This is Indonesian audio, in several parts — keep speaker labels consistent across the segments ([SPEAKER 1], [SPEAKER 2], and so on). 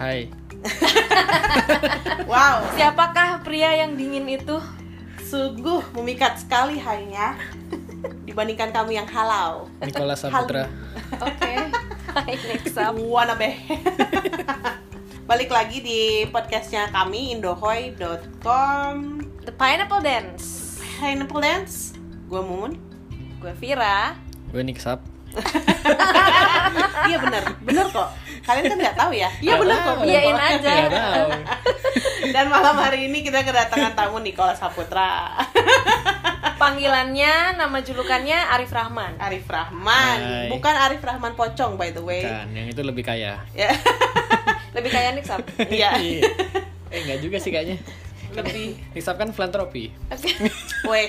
[SPEAKER 1] Hai.
[SPEAKER 2] Wow,
[SPEAKER 3] Siapakah pria yang dingin itu?
[SPEAKER 2] sungguh memikat sekali hainya dibandingkan kamu yang halau.
[SPEAKER 1] Nikola Saputra.
[SPEAKER 3] Oke. Hai, next up.
[SPEAKER 2] Wannabe. Balik lagi di podcastnya kami indohoy.com
[SPEAKER 3] The Pineapple Dance.
[SPEAKER 2] Pineapple Dance. Gue Mumun.
[SPEAKER 3] Gue Vira.
[SPEAKER 1] Gue Nick Sap.
[SPEAKER 2] Iya bener, bener kok. Kalian kan nggak tahu ya? Iya
[SPEAKER 1] Nggak
[SPEAKER 2] bener
[SPEAKER 1] tahu.
[SPEAKER 2] kok. bener
[SPEAKER 3] Iyain
[SPEAKER 2] kok.
[SPEAKER 3] aja.
[SPEAKER 1] Nggak Iya, tahu.
[SPEAKER 2] Dan malam hari ini kita kedatangan tamu Nikola Saputra,
[SPEAKER 3] Panggilannya, nama julukannya Arif Rahman.
[SPEAKER 2] Arif Rahman.
[SPEAKER 1] Hai.
[SPEAKER 2] Bukan Arif Rahman Pocong by the way.
[SPEAKER 1] Kan, yang itu lebih kaya.
[SPEAKER 2] Ya,
[SPEAKER 3] Lebih kaya Nick Sap.
[SPEAKER 2] Iya.
[SPEAKER 1] Iya. eh, enggak juga sih kayaknya.
[SPEAKER 2] lebih.
[SPEAKER 1] Nick Sap kan filantropi.
[SPEAKER 2] Weh,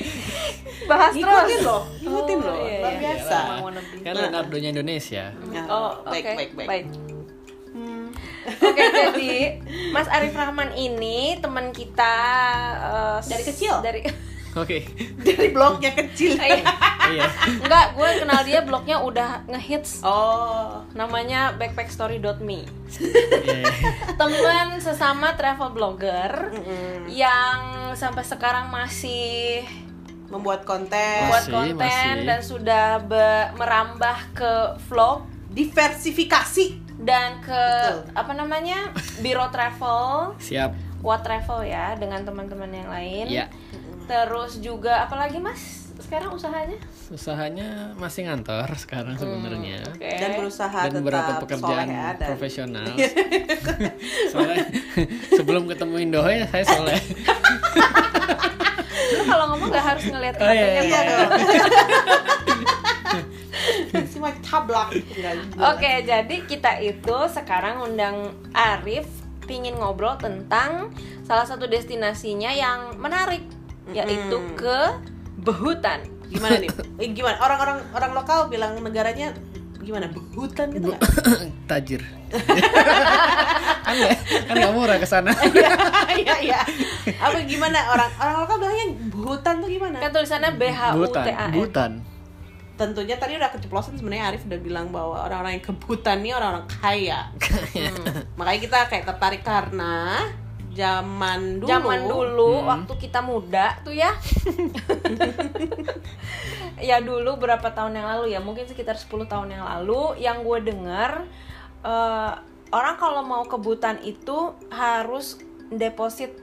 [SPEAKER 3] Bahas
[SPEAKER 2] ngikutin
[SPEAKER 3] terus.
[SPEAKER 2] loh, ngikutin
[SPEAKER 3] Oh,
[SPEAKER 2] loh,
[SPEAKER 3] iya,
[SPEAKER 2] luar
[SPEAKER 3] iya.
[SPEAKER 2] biasa.
[SPEAKER 1] Iyalah.
[SPEAKER 3] Emang wannabe.
[SPEAKER 1] Kan Leonardo-nya Indonesia.
[SPEAKER 2] Ya,
[SPEAKER 3] Oh, oke.
[SPEAKER 2] baik, baik, Hmm. baik.
[SPEAKER 3] Baik. Oke, jadi Mas Arif Rahman ini teman kita eh,
[SPEAKER 2] Dari kecil?
[SPEAKER 3] Dari Eh,
[SPEAKER 1] Oke.
[SPEAKER 2] Dari blognya kecil.
[SPEAKER 1] iya.
[SPEAKER 3] Enggak, gue kenal dia blognya udah ngehits
[SPEAKER 2] Oh,
[SPEAKER 3] namanya backpackstory.me.
[SPEAKER 1] Iya.
[SPEAKER 3] Teman sesama travel blogger
[SPEAKER 2] mm-mm.
[SPEAKER 3] yang sampai sekarang masih
[SPEAKER 2] membuat
[SPEAKER 3] buat
[SPEAKER 2] konten,
[SPEAKER 1] Masih,
[SPEAKER 3] konten
[SPEAKER 1] masih.
[SPEAKER 3] dan sudah be- merambah ke vlog
[SPEAKER 2] diversifikasi.
[SPEAKER 3] dan ke
[SPEAKER 2] Betul.
[SPEAKER 3] apa namanya? Biro travel,
[SPEAKER 1] Siap.
[SPEAKER 3] What Travel ya dengan teman-teman yang lain.
[SPEAKER 1] Iya.
[SPEAKER 3] Terus juga apalagi Mas sekarang usahanya?
[SPEAKER 1] Usahanya masih ngantor sekarang sebenarnya.
[SPEAKER 3] Oke.
[SPEAKER 2] Dan berusaha
[SPEAKER 1] Dan
[SPEAKER 2] Hmm, tetap
[SPEAKER 1] beberapa
[SPEAKER 2] soleh
[SPEAKER 1] pekerjaan
[SPEAKER 2] ya, dan
[SPEAKER 1] profesional. Soalnya sebelum ketemu Indohoy saya soleh.
[SPEAKER 3] Lu kalau ngomong nggak harus ngeliat
[SPEAKER 1] Oh, iya,
[SPEAKER 3] katanya
[SPEAKER 2] Iya
[SPEAKER 3] kok.
[SPEAKER 2] dong. Cuma tablak. Enggak, enggak.
[SPEAKER 3] Oke, jadi kita itu sekarang undang Arif pingin ngobrol tentang salah satu destinasinya yang menarik yaitu
[SPEAKER 2] Mm-mm.
[SPEAKER 3] ke Behutan.
[SPEAKER 2] Gimana nih? Eh, Gimana? Orang-orang orang lokal bilang negaranya gimana? Hutan gitu nggak?
[SPEAKER 1] Tajir. kan ya, kan nggak murah ke sana.
[SPEAKER 3] Eh,
[SPEAKER 2] Iya, iya. Apa gimana orang orang lokal bilangnya hutan tuh gimana?
[SPEAKER 3] Kan tulisannya B H U T
[SPEAKER 1] Butan,
[SPEAKER 3] A ya. N.
[SPEAKER 1] butan.
[SPEAKER 2] Tentunya tadi udah keceplosan sebenarnya Arif udah bilang bahwa orang-orang yang ke Butan nih orang-orang kaya. Hmm, Makanya kita kayak tertarik karena zaman dulu.
[SPEAKER 3] Zaman
[SPEAKER 1] Hmm.
[SPEAKER 3] dulu waktu kita muda tuh ya. ya dulu berapa tahun yang lalu ya, mungkin sekitar 10 tahun yang lalu yang gue dengar eh, orang kalau mau ke Butan itu harus deposit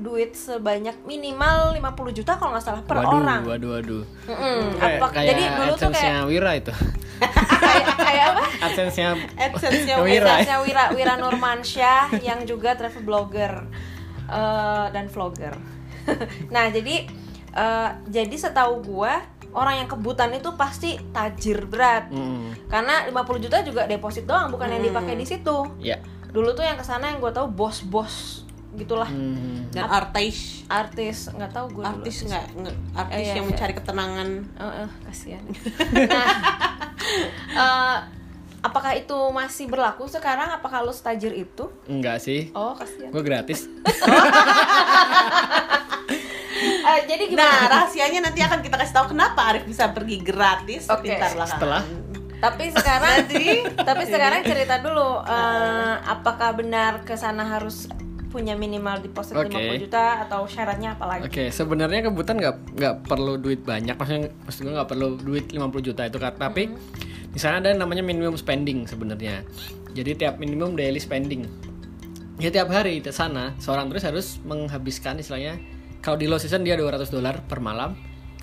[SPEAKER 3] duit sebanyak minimal 50 juta kalau nggak salah per
[SPEAKER 1] waduh,
[SPEAKER 3] orang.
[SPEAKER 1] waduh, waduh.
[SPEAKER 3] Mm-mm.
[SPEAKER 1] Kayak,
[SPEAKER 3] Apa-
[SPEAKER 1] kayak
[SPEAKER 3] jadi dulu tuh
[SPEAKER 1] AdSense-nya
[SPEAKER 3] kayak
[SPEAKER 1] Wira itu.
[SPEAKER 3] kayak, kayak apa?
[SPEAKER 1] AdSense-nya
[SPEAKER 2] AdSense-nya
[SPEAKER 1] Wira.
[SPEAKER 3] Wira. Wira Wira Nurmansyah yang juga travel blogger eh, dan vlogger. nah, jadi eh, jadi setahu gua orang yang kebutan itu pasti tajir berat.
[SPEAKER 1] Mm-mm.
[SPEAKER 3] Karena 50 juta juga deposit doang bukan yang dipakai di situ.
[SPEAKER 1] Ya.
[SPEAKER 3] Dulu tuh yang kesana yang gua tahu bos-bos gitulah.
[SPEAKER 1] Mm.
[SPEAKER 2] Dan artis
[SPEAKER 3] Artis, nggak tahu gua dulu.
[SPEAKER 2] artis nggak nggak- artis
[SPEAKER 3] Iya,
[SPEAKER 2] yang
[SPEAKER 3] iya.
[SPEAKER 2] mencari ketenangan
[SPEAKER 3] Eh, eh, kasihan. Nah, eh, apakah itu masih berlaku sekarang? Apakah lo stajir itu?
[SPEAKER 1] Enggak sih.
[SPEAKER 3] Oh, kasihan.
[SPEAKER 1] Gue gratis.
[SPEAKER 3] Eh, jadi
[SPEAKER 2] nah
[SPEAKER 3] gimana?
[SPEAKER 2] rahasianya nanti akan kita kasih tahu kenapa Arif bisa pergi gratis
[SPEAKER 3] Oke.
[SPEAKER 2] pintar lah
[SPEAKER 1] Setelah
[SPEAKER 3] tapi sekarang tapi sekarang cerita dulu eh, apakah benar ke sana harus punya minimal deposit
[SPEAKER 1] Oke.
[SPEAKER 3] 50 juta atau syaratnya apa lagi?
[SPEAKER 1] Oke, sebenarnya kebutuhan nggak nggak perlu duit banyak, maksudnya maksud gue nggak perlu duit 50 juta itu kan. Tapi di sana ada yang namanya minimum spending sebenarnya. Jadi tiap minimum daily spending. Ya tiap hari di sana seorang turis harus menghabiskan istilahnya kalau di low season dia 200 dolar per malam,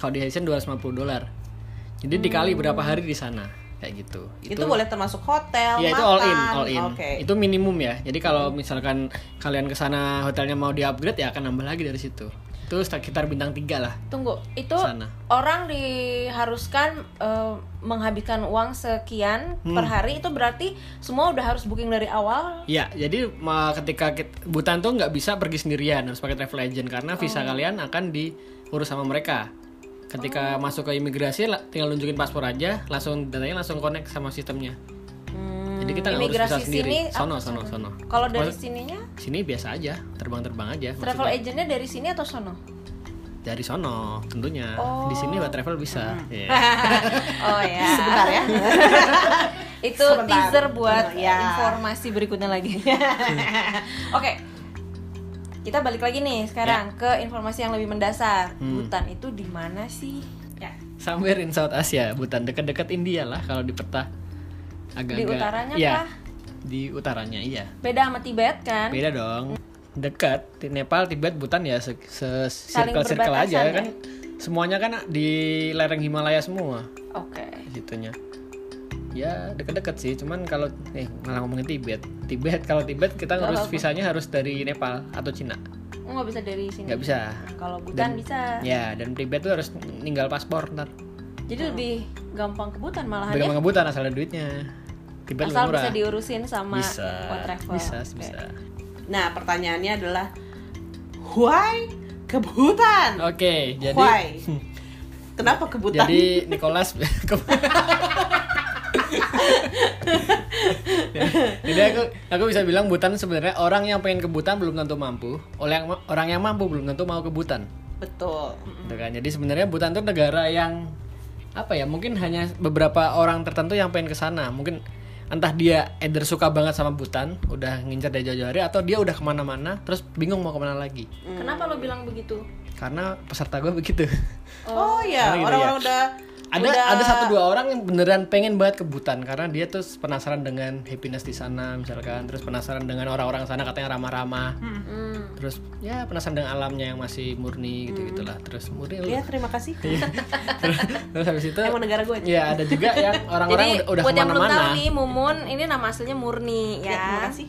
[SPEAKER 1] kalau di high season 250 dolar. Jadi dikali berapa hari di sana kayak gitu.
[SPEAKER 2] itu, boleh termasuk hotel
[SPEAKER 1] Ya
[SPEAKER 2] makan
[SPEAKER 1] itu all in, all in.
[SPEAKER 2] Oke.
[SPEAKER 1] Itu minimum ya. Jadi kalau misalkan kalian ke sana hotelnya mau di-upgrade ya akan nambah lagi dari situ. Itu sekitar bintang 3 lah
[SPEAKER 3] Tunggu, itu
[SPEAKER 1] sana.
[SPEAKER 3] orang diharuskan eh, menghabiskan uang sekian
[SPEAKER 1] Hmm.
[SPEAKER 3] per hari itu berarti semua udah harus booking dari awal.
[SPEAKER 1] Ya, jadi ma- ketika kita, Butan tuh nggak bisa pergi sendirian harus pakai travel agent karena visa
[SPEAKER 3] Oh.
[SPEAKER 1] kalian akan diurus sama mereka.
[SPEAKER 3] Oh.
[SPEAKER 1] Ketika masuk ke imigrasi la- tinggal nunjukin paspor aja, langsung datanya langsung connect sama sistemnya. Jadi Hmm, kita nggak urus visa
[SPEAKER 3] Imigrasi
[SPEAKER 1] sendiri.
[SPEAKER 3] sini
[SPEAKER 1] Sono,
[SPEAKER 3] apa
[SPEAKER 1] sono, sono.
[SPEAKER 3] Kalau dari
[SPEAKER 1] Maksud-
[SPEAKER 3] sininya
[SPEAKER 1] sini biasa aja, terbang-terbang aja.
[SPEAKER 3] travel
[SPEAKER 1] Maksudnya
[SPEAKER 3] agentnya dari sini atau sono?
[SPEAKER 1] dari sono
[SPEAKER 3] Hmm.
[SPEAKER 1] tentunya. Di sini buat travel bisa. Iya.
[SPEAKER 3] Oh ya.
[SPEAKER 2] sebentar ya
[SPEAKER 3] Itu
[SPEAKER 2] Sebentar.
[SPEAKER 3] teaser buat
[SPEAKER 2] Ya.
[SPEAKER 3] informasi berikutnya lagi. Oke. Kita balik lagi nih sekarang
[SPEAKER 1] Ya.
[SPEAKER 3] ke informasi yang lebih mendasar.
[SPEAKER 1] Hmm.
[SPEAKER 3] Hutan itu di mana sih?
[SPEAKER 2] Ya.
[SPEAKER 1] Somewhere in South Asia, Butan dekat-dekat India lah kalau di peta. Agak-agak.
[SPEAKER 3] Di utaranya
[SPEAKER 1] Iya,
[SPEAKER 3] kah?
[SPEAKER 1] Di utaranya, iya.
[SPEAKER 3] Beda sama Tibet kan?
[SPEAKER 1] Beda dong. Dekat di Nepal, Tibet, Butan ya se, se-
[SPEAKER 3] Saling
[SPEAKER 1] circle-circle aja
[SPEAKER 3] berbatasan ya?
[SPEAKER 1] kan. Semuanya kan di lereng Himalaya semua
[SPEAKER 3] Oke.
[SPEAKER 1] gitunya. Ya dekat-dekat sih, cuman kalau eh malah ngomongin Tibet. Tibet kalau Tibet kita ngurus
[SPEAKER 3] apa-apa.
[SPEAKER 1] visanya harus dari Nepal atau Cina.
[SPEAKER 3] Nggak bisa dari sini.
[SPEAKER 1] Nggak bisa.
[SPEAKER 3] Kalau Butan
[SPEAKER 1] Dan-
[SPEAKER 3] bisa.
[SPEAKER 1] Ya, dan Tibet tuh harus ninggal paspor ntar.
[SPEAKER 3] Jadi lebih gampang ke Butan malahan ya.
[SPEAKER 1] Bagaimana kebutan asal ada duitnya. Tibet
[SPEAKER 3] Asal
[SPEAKER 1] lebih murah.
[SPEAKER 3] bisa diurusin sama
[SPEAKER 1] bisa,
[SPEAKER 3] World travel.
[SPEAKER 1] bisa,
[SPEAKER 3] Oke.
[SPEAKER 1] bisa.
[SPEAKER 2] Nah, pertanyaannya adalah why ke Bhutan?
[SPEAKER 1] Oke, jadi
[SPEAKER 2] why? Kenapa ke Bhutan?
[SPEAKER 1] jadi Nicholas Jadi aku aku bisa bilang Butan sebenarnya orang yang pengen ke Butan belum tentu mampu, oleh yang- orang yang mampu belum tentu mau ke Butan.
[SPEAKER 2] Betul.
[SPEAKER 1] Gitu kan. Jadi sebenarnya Butan tuh negara yang apa ya? Mungkin hanya beberapa orang tertentu yang pengen ke sana. Mungkin entah dia either suka banget sama Butan, udah ngincer dari jauh-jauh hari, atau dia udah kemana-mana, terus bingung mau kemana lagi.
[SPEAKER 3] Hmm. Kenapa lo bilang begitu?
[SPEAKER 1] Karena peserta gue begitu.
[SPEAKER 2] Oh, ya,
[SPEAKER 1] Karena gitu
[SPEAKER 2] orang-orang
[SPEAKER 1] ya.
[SPEAKER 2] udah
[SPEAKER 1] Ada
[SPEAKER 2] udah
[SPEAKER 1] ada satu dua orang yang beneran pengen banget ke Butan karena dia tuh penasaran dengan happiness di sana misalkan, terus penasaran dengan orang-orang sana katanya ramah-ramah,
[SPEAKER 3] Hmm.
[SPEAKER 1] terus ya penasaran dengan alamnya yang masih murni gitu gitulah,
[SPEAKER 3] Hmm.
[SPEAKER 1] terus murni
[SPEAKER 2] Ya, terima kasih.
[SPEAKER 1] Iya. terus, terus habis itu
[SPEAKER 2] Emang negara gue aja.
[SPEAKER 1] ya ada juga yang orang-orang
[SPEAKER 3] Jadi
[SPEAKER 1] udah, udah
[SPEAKER 3] buat yang belum tahu
[SPEAKER 1] kemana-mana Iya,
[SPEAKER 3] nih Mumun ini nama aslinya Murni
[SPEAKER 2] Ya, terima
[SPEAKER 3] ya.
[SPEAKER 2] kasih.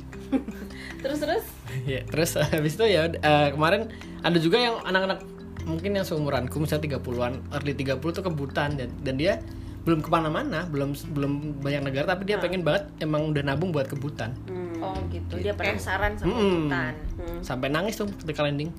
[SPEAKER 3] terus terus.
[SPEAKER 1] Ya, terus habis itu ya eh, kemarin ada juga yang anak-anak mungkin yang seumuranku misalnya 30-an early 30 tuh ke Butan dan, dan dia belum kemana-mana belum belum banyak negara tapi
[SPEAKER 3] Ah.
[SPEAKER 1] dia pengen banget emang udah nabung buat ke Butan
[SPEAKER 3] Oh gitu. Dia penasaran
[SPEAKER 2] Eh.
[SPEAKER 3] sama
[SPEAKER 1] Mm-mm.
[SPEAKER 3] hutan.
[SPEAKER 1] sampai nangis tuh ketika landing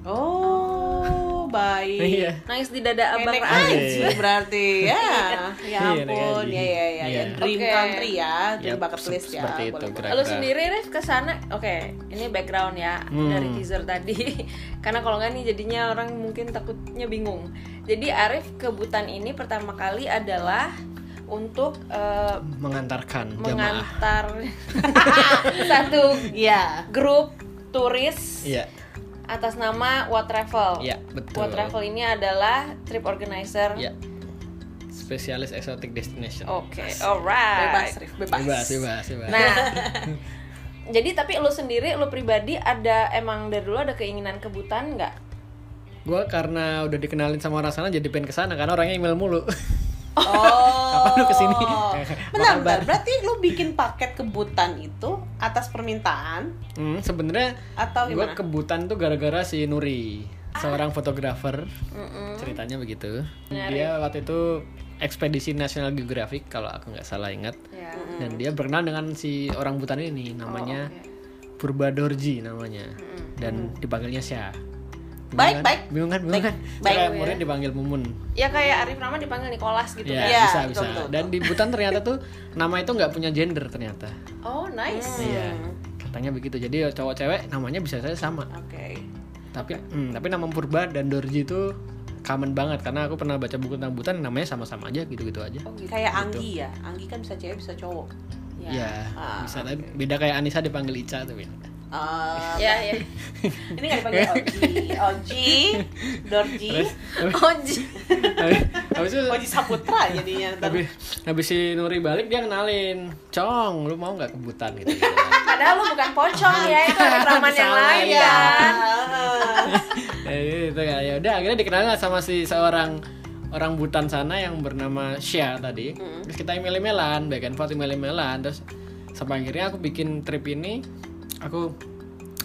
[SPEAKER 2] Oh, baik.
[SPEAKER 1] iya
[SPEAKER 3] Nangis di dada abang
[SPEAKER 2] Enak
[SPEAKER 3] Ra-
[SPEAKER 2] aja berarti ya. Ya
[SPEAKER 1] Iya, enak
[SPEAKER 2] ampun,
[SPEAKER 1] aja.
[SPEAKER 2] ya ya ya.
[SPEAKER 1] Iya.
[SPEAKER 2] ya. Dream
[SPEAKER 3] Oke.
[SPEAKER 2] country ya, dream
[SPEAKER 1] Ya,
[SPEAKER 2] bucket
[SPEAKER 1] se-
[SPEAKER 2] list ya.
[SPEAKER 1] seperti itu
[SPEAKER 2] Boleh.
[SPEAKER 1] kira-kira Hmm.
[SPEAKER 3] Lu sendiri Rif kesana, oke ini background ya dari teaser tadi Karena kalau nggak nih jadinya orang mungkin takutnya bingung Jadi Arif ke Butan ini pertama kali adalah untuk eh,
[SPEAKER 1] mengantarkan jamaah
[SPEAKER 3] mengantar satu
[SPEAKER 2] Iya.
[SPEAKER 3] grup turis
[SPEAKER 1] iya
[SPEAKER 3] atas nama What Travel.
[SPEAKER 1] iya betul
[SPEAKER 3] What Travel ini adalah trip organizer.
[SPEAKER 1] iya spesialis exotic destination
[SPEAKER 3] Oke,
[SPEAKER 2] Bebas,
[SPEAKER 3] alright.
[SPEAKER 2] Rif, bebas.
[SPEAKER 1] bebas bebas bebas
[SPEAKER 3] Nah, jadi tapi lu sendiri, lu pribadi ada emang dari dulu ada keinginan ke Butan nggak?
[SPEAKER 1] gue karena udah dikenalin sama orang sana jadi pengen kesana karena orangnya email mulu
[SPEAKER 2] Oh.
[SPEAKER 1] Kapan lu kesini?
[SPEAKER 2] Bentar, bentar. Berarti lu bikin paket kebutan itu atas permintaan
[SPEAKER 1] hmm, sebenarnya
[SPEAKER 2] atau
[SPEAKER 1] gue
[SPEAKER 2] gimana? Ah.
[SPEAKER 1] kebutan tuh gara-gara si Nuri seorang fotografer ceritanya begitu dia waktu itu ekspedisi National Geographic kalau aku nggak salah ingat
[SPEAKER 3] Ya.
[SPEAKER 2] Mm.
[SPEAKER 1] dan dia berkenal dengan si orang butan ini namanya
[SPEAKER 2] Oh,
[SPEAKER 1] Purba Dorji namanya dan dipanggilnya Syah
[SPEAKER 2] Baik,
[SPEAKER 1] Bingung kan?
[SPEAKER 2] baik.
[SPEAKER 1] bingung kan bingung kan
[SPEAKER 2] baik.
[SPEAKER 1] Kayak murid dipanggil Mumun
[SPEAKER 3] Ya kayak Arif Rahman dipanggil Nicholas gitu kan.
[SPEAKER 1] ya,
[SPEAKER 2] Iya,
[SPEAKER 1] bisa
[SPEAKER 2] betul,
[SPEAKER 1] bisa
[SPEAKER 2] betul,
[SPEAKER 1] dan di butan ternyata tuh nama itu nggak punya gender ternyata
[SPEAKER 2] Mm.
[SPEAKER 3] Oh, nice.
[SPEAKER 1] iya katanya begitu jadi cowok cewek namanya bisa saja sama
[SPEAKER 2] Oke.
[SPEAKER 1] tapi mm, tapi nama purba dan dorji itu common banget karena aku pernah baca buku tentang butan namanya sama-sama aja gitu-gitu aja
[SPEAKER 3] Oh, gitu.
[SPEAKER 2] Kayak Anggi ya. Anggi kan bisa cewek, bisa cowok.
[SPEAKER 1] ya,
[SPEAKER 3] Ya.
[SPEAKER 2] Ah,
[SPEAKER 1] bisa tapi beda kayak Anissa dipanggil Ica tuh beda.
[SPEAKER 2] Eh,
[SPEAKER 3] Ya, ya.
[SPEAKER 2] ini nggak dipanggil Oji, Oji, Dorji,
[SPEAKER 3] Oji.
[SPEAKER 1] Habis- habis itu
[SPEAKER 2] Oji Saputra jadinya. ntar.
[SPEAKER 1] habis, habis si Nuri balik dia kenalin Cong lu mau nggak ke butan gitu
[SPEAKER 3] Padahal lu bukan pocong ya, itu Arif Rahman yang
[SPEAKER 1] Salah,
[SPEAKER 3] lain
[SPEAKER 1] iya.
[SPEAKER 3] kan.
[SPEAKER 2] Ah.
[SPEAKER 1] ya gitu kan ya udah akhirnya dikenalin sama si seorang orang butan sana yang bernama Syah tadi terus kita email emailan back and forth email emailan terus sampai akhirnya aku bikin trip ini aku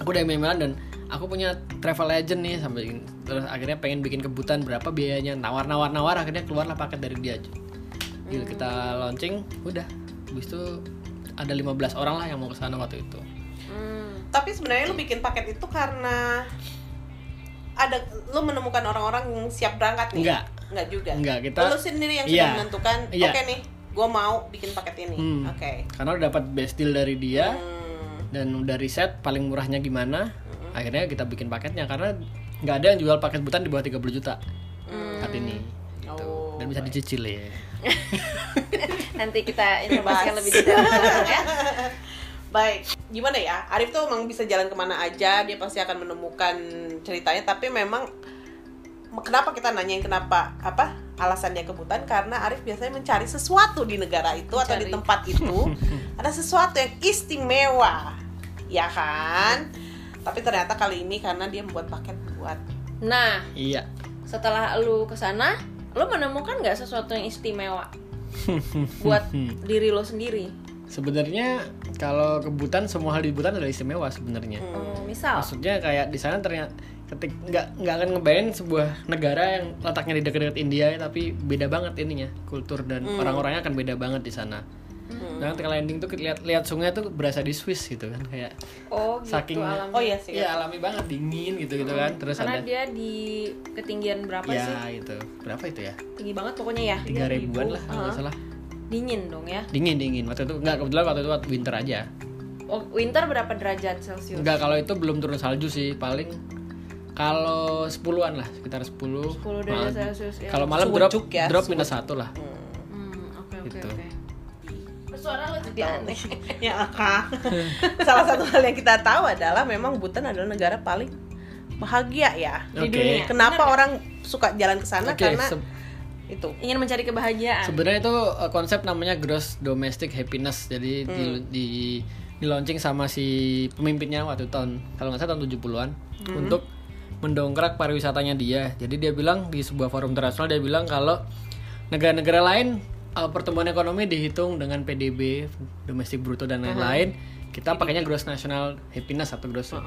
[SPEAKER 1] aku udah email emailan dan aku punya travel agent nih sampai terus akhirnya pengen bikin kebutan berapa biayanya nawar nawar nawar akhirnya keluarlah paket dari dia Gila kita launching udah habis itu ada 15 orang lah yang mau ke sana waktu itu
[SPEAKER 2] Tapi sebenarnya lu bikin paket itu karena ada lu menemukan orang-orang yang siap berangkat nih.
[SPEAKER 1] Enggak.
[SPEAKER 2] Enggak juga.
[SPEAKER 1] enggak kita
[SPEAKER 2] Lu sendiri yang
[SPEAKER 1] Iya.
[SPEAKER 2] sudah menentukan,
[SPEAKER 1] Iya.
[SPEAKER 2] oke nih, gue mau bikin paket ini.
[SPEAKER 1] Hmm.
[SPEAKER 2] Oke.
[SPEAKER 1] karena udah dapat best deal dari dia
[SPEAKER 2] Hmm.
[SPEAKER 1] dan udah riset paling murahnya gimana akhirnya kita bikin
[SPEAKER 2] Hmm.
[SPEAKER 1] paketnya karena nggak ada yang jual paket butan di bawah 30 juta saat ini gitu.
[SPEAKER 2] Oh.
[SPEAKER 1] dan dan bisa dicicil ya
[SPEAKER 3] Nanti kita informasikan lebih detail sekarang ya.
[SPEAKER 2] Baik, gimana ya? Arif tuh emang bisa jalan kemana aja, dia pasti akan menemukan ceritanya. Tapi memang kenapa kita nanyain kenapa apa alasan dia kebutan? Karena Arif biasanya mencari sesuatu di negara itu atau di
[SPEAKER 3] Mencari.
[SPEAKER 2] tempat itu ada sesuatu yang istimewa, ya kan? Tapi ternyata kali ini karena dia membuat paket buat
[SPEAKER 3] Nah,
[SPEAKER 1] iya
[SPEAKER 3] setelah lu kesana, lu menemukan nggak sesuatu yang istimewa buat diri lo sendiri?
[SPEAKER 1] sebenarnya kalau kebutan semua hal di kebutan adalah istimewa sebenarnya
[SPEAKER 3] Hmm, misal,
[SPEAKER 1] maksudnya kayak di sana ternyata ketik nggak nggak akan ngebayangin sebuah negara yang letaknya di dekat-dekat India tapi beda banget ininya kultur dan orang-orangnya akan beda banget di sana Nah, ketika landing tuh lihat lihat sungai tuh berasa di Swiss gitu kan kayak
[SPEAKER 3] oh gitu
[SPEAKER 1] Saking-
[SPEAKER 3] alam.
[SPEAKER 2] Oh iya sih.
[SPEAKER 1] iya alami banget dingin gitu gitu kan terus
[SPEAKER 3] Hmm. Karena
[SPEAKER 1] ada
[SPEAKER 3] dia di ketinggian berapa
[SPEAKER 1] ya
[SPEAKER 3] sih?
[SPEAKER 1] itu berapa itu ya
[SPEAKER 3] Tinggi banget pokoknya ya.
[SPEAKER 1] tiga ribuan lah kalau
[SPEAKER 3] Uh-huh.
[SPEAKER 1] nggak salah
[SPEAKER 3] Dingin dong ya.
[SPEAKER 1] dingin dingin waktu itu nggak kebetulan waktu itu waktu winter aja
[SPEAKER 3] Oh, Winter berapa derajat Celcius?
[SPEAKER 1] nggak kalau itu belum turun salju sih paling kalau 10-an lah sekitar 10
[SPEAKER 3] 10 derajat
[SPEAKER 1] Malam-
[SPEAKER 3] Celcius ya.
[SPEAKER 1] kalau malam drop
[SPEAKER 2] Sejuk ya,
[SPEAKER 1] drop minus satu lah
[SPEAKER 3] Hmm, oke oke
[SPEAKER 1] Gitu.
[SPEAKER 3] oke. Suara lo jadi aneh.
[SPEAKER 2] ya Kak. Salah satu hal yang kita tahu adalah memang Butan adalah negara paling bahagia ya.
[SPEAKER 3] Di
[SPEAKER 1] Oke.
[SPEAKER 3] dunia.
[SPEAKER 2] Kenapa orang suka jalan ke sana
[SPEAKER 1] oke
[SPEAKER 2] karena
[SPEAKER 1] se-
[SPEAKER 2] itu.
[SPEAKER 3] Ingin mencari kebahagiaan.
[SPEAKER 1] sebenarnya itu uh, konsep namanya gross domestic happiness jadi di, di di launching sama si pemimpinnya waktu tahun kalau nggak salah tahun 70-an untuk mendongkrak pariwisatanya dia jadi dia bilang di sebuah forum internasional dia bilang kalau negara-negara lain uh, pertumbuhan ekonomi dihitung dengan PDB domestik bruto dan lain-lain kita pakainya gross national happiness atau gross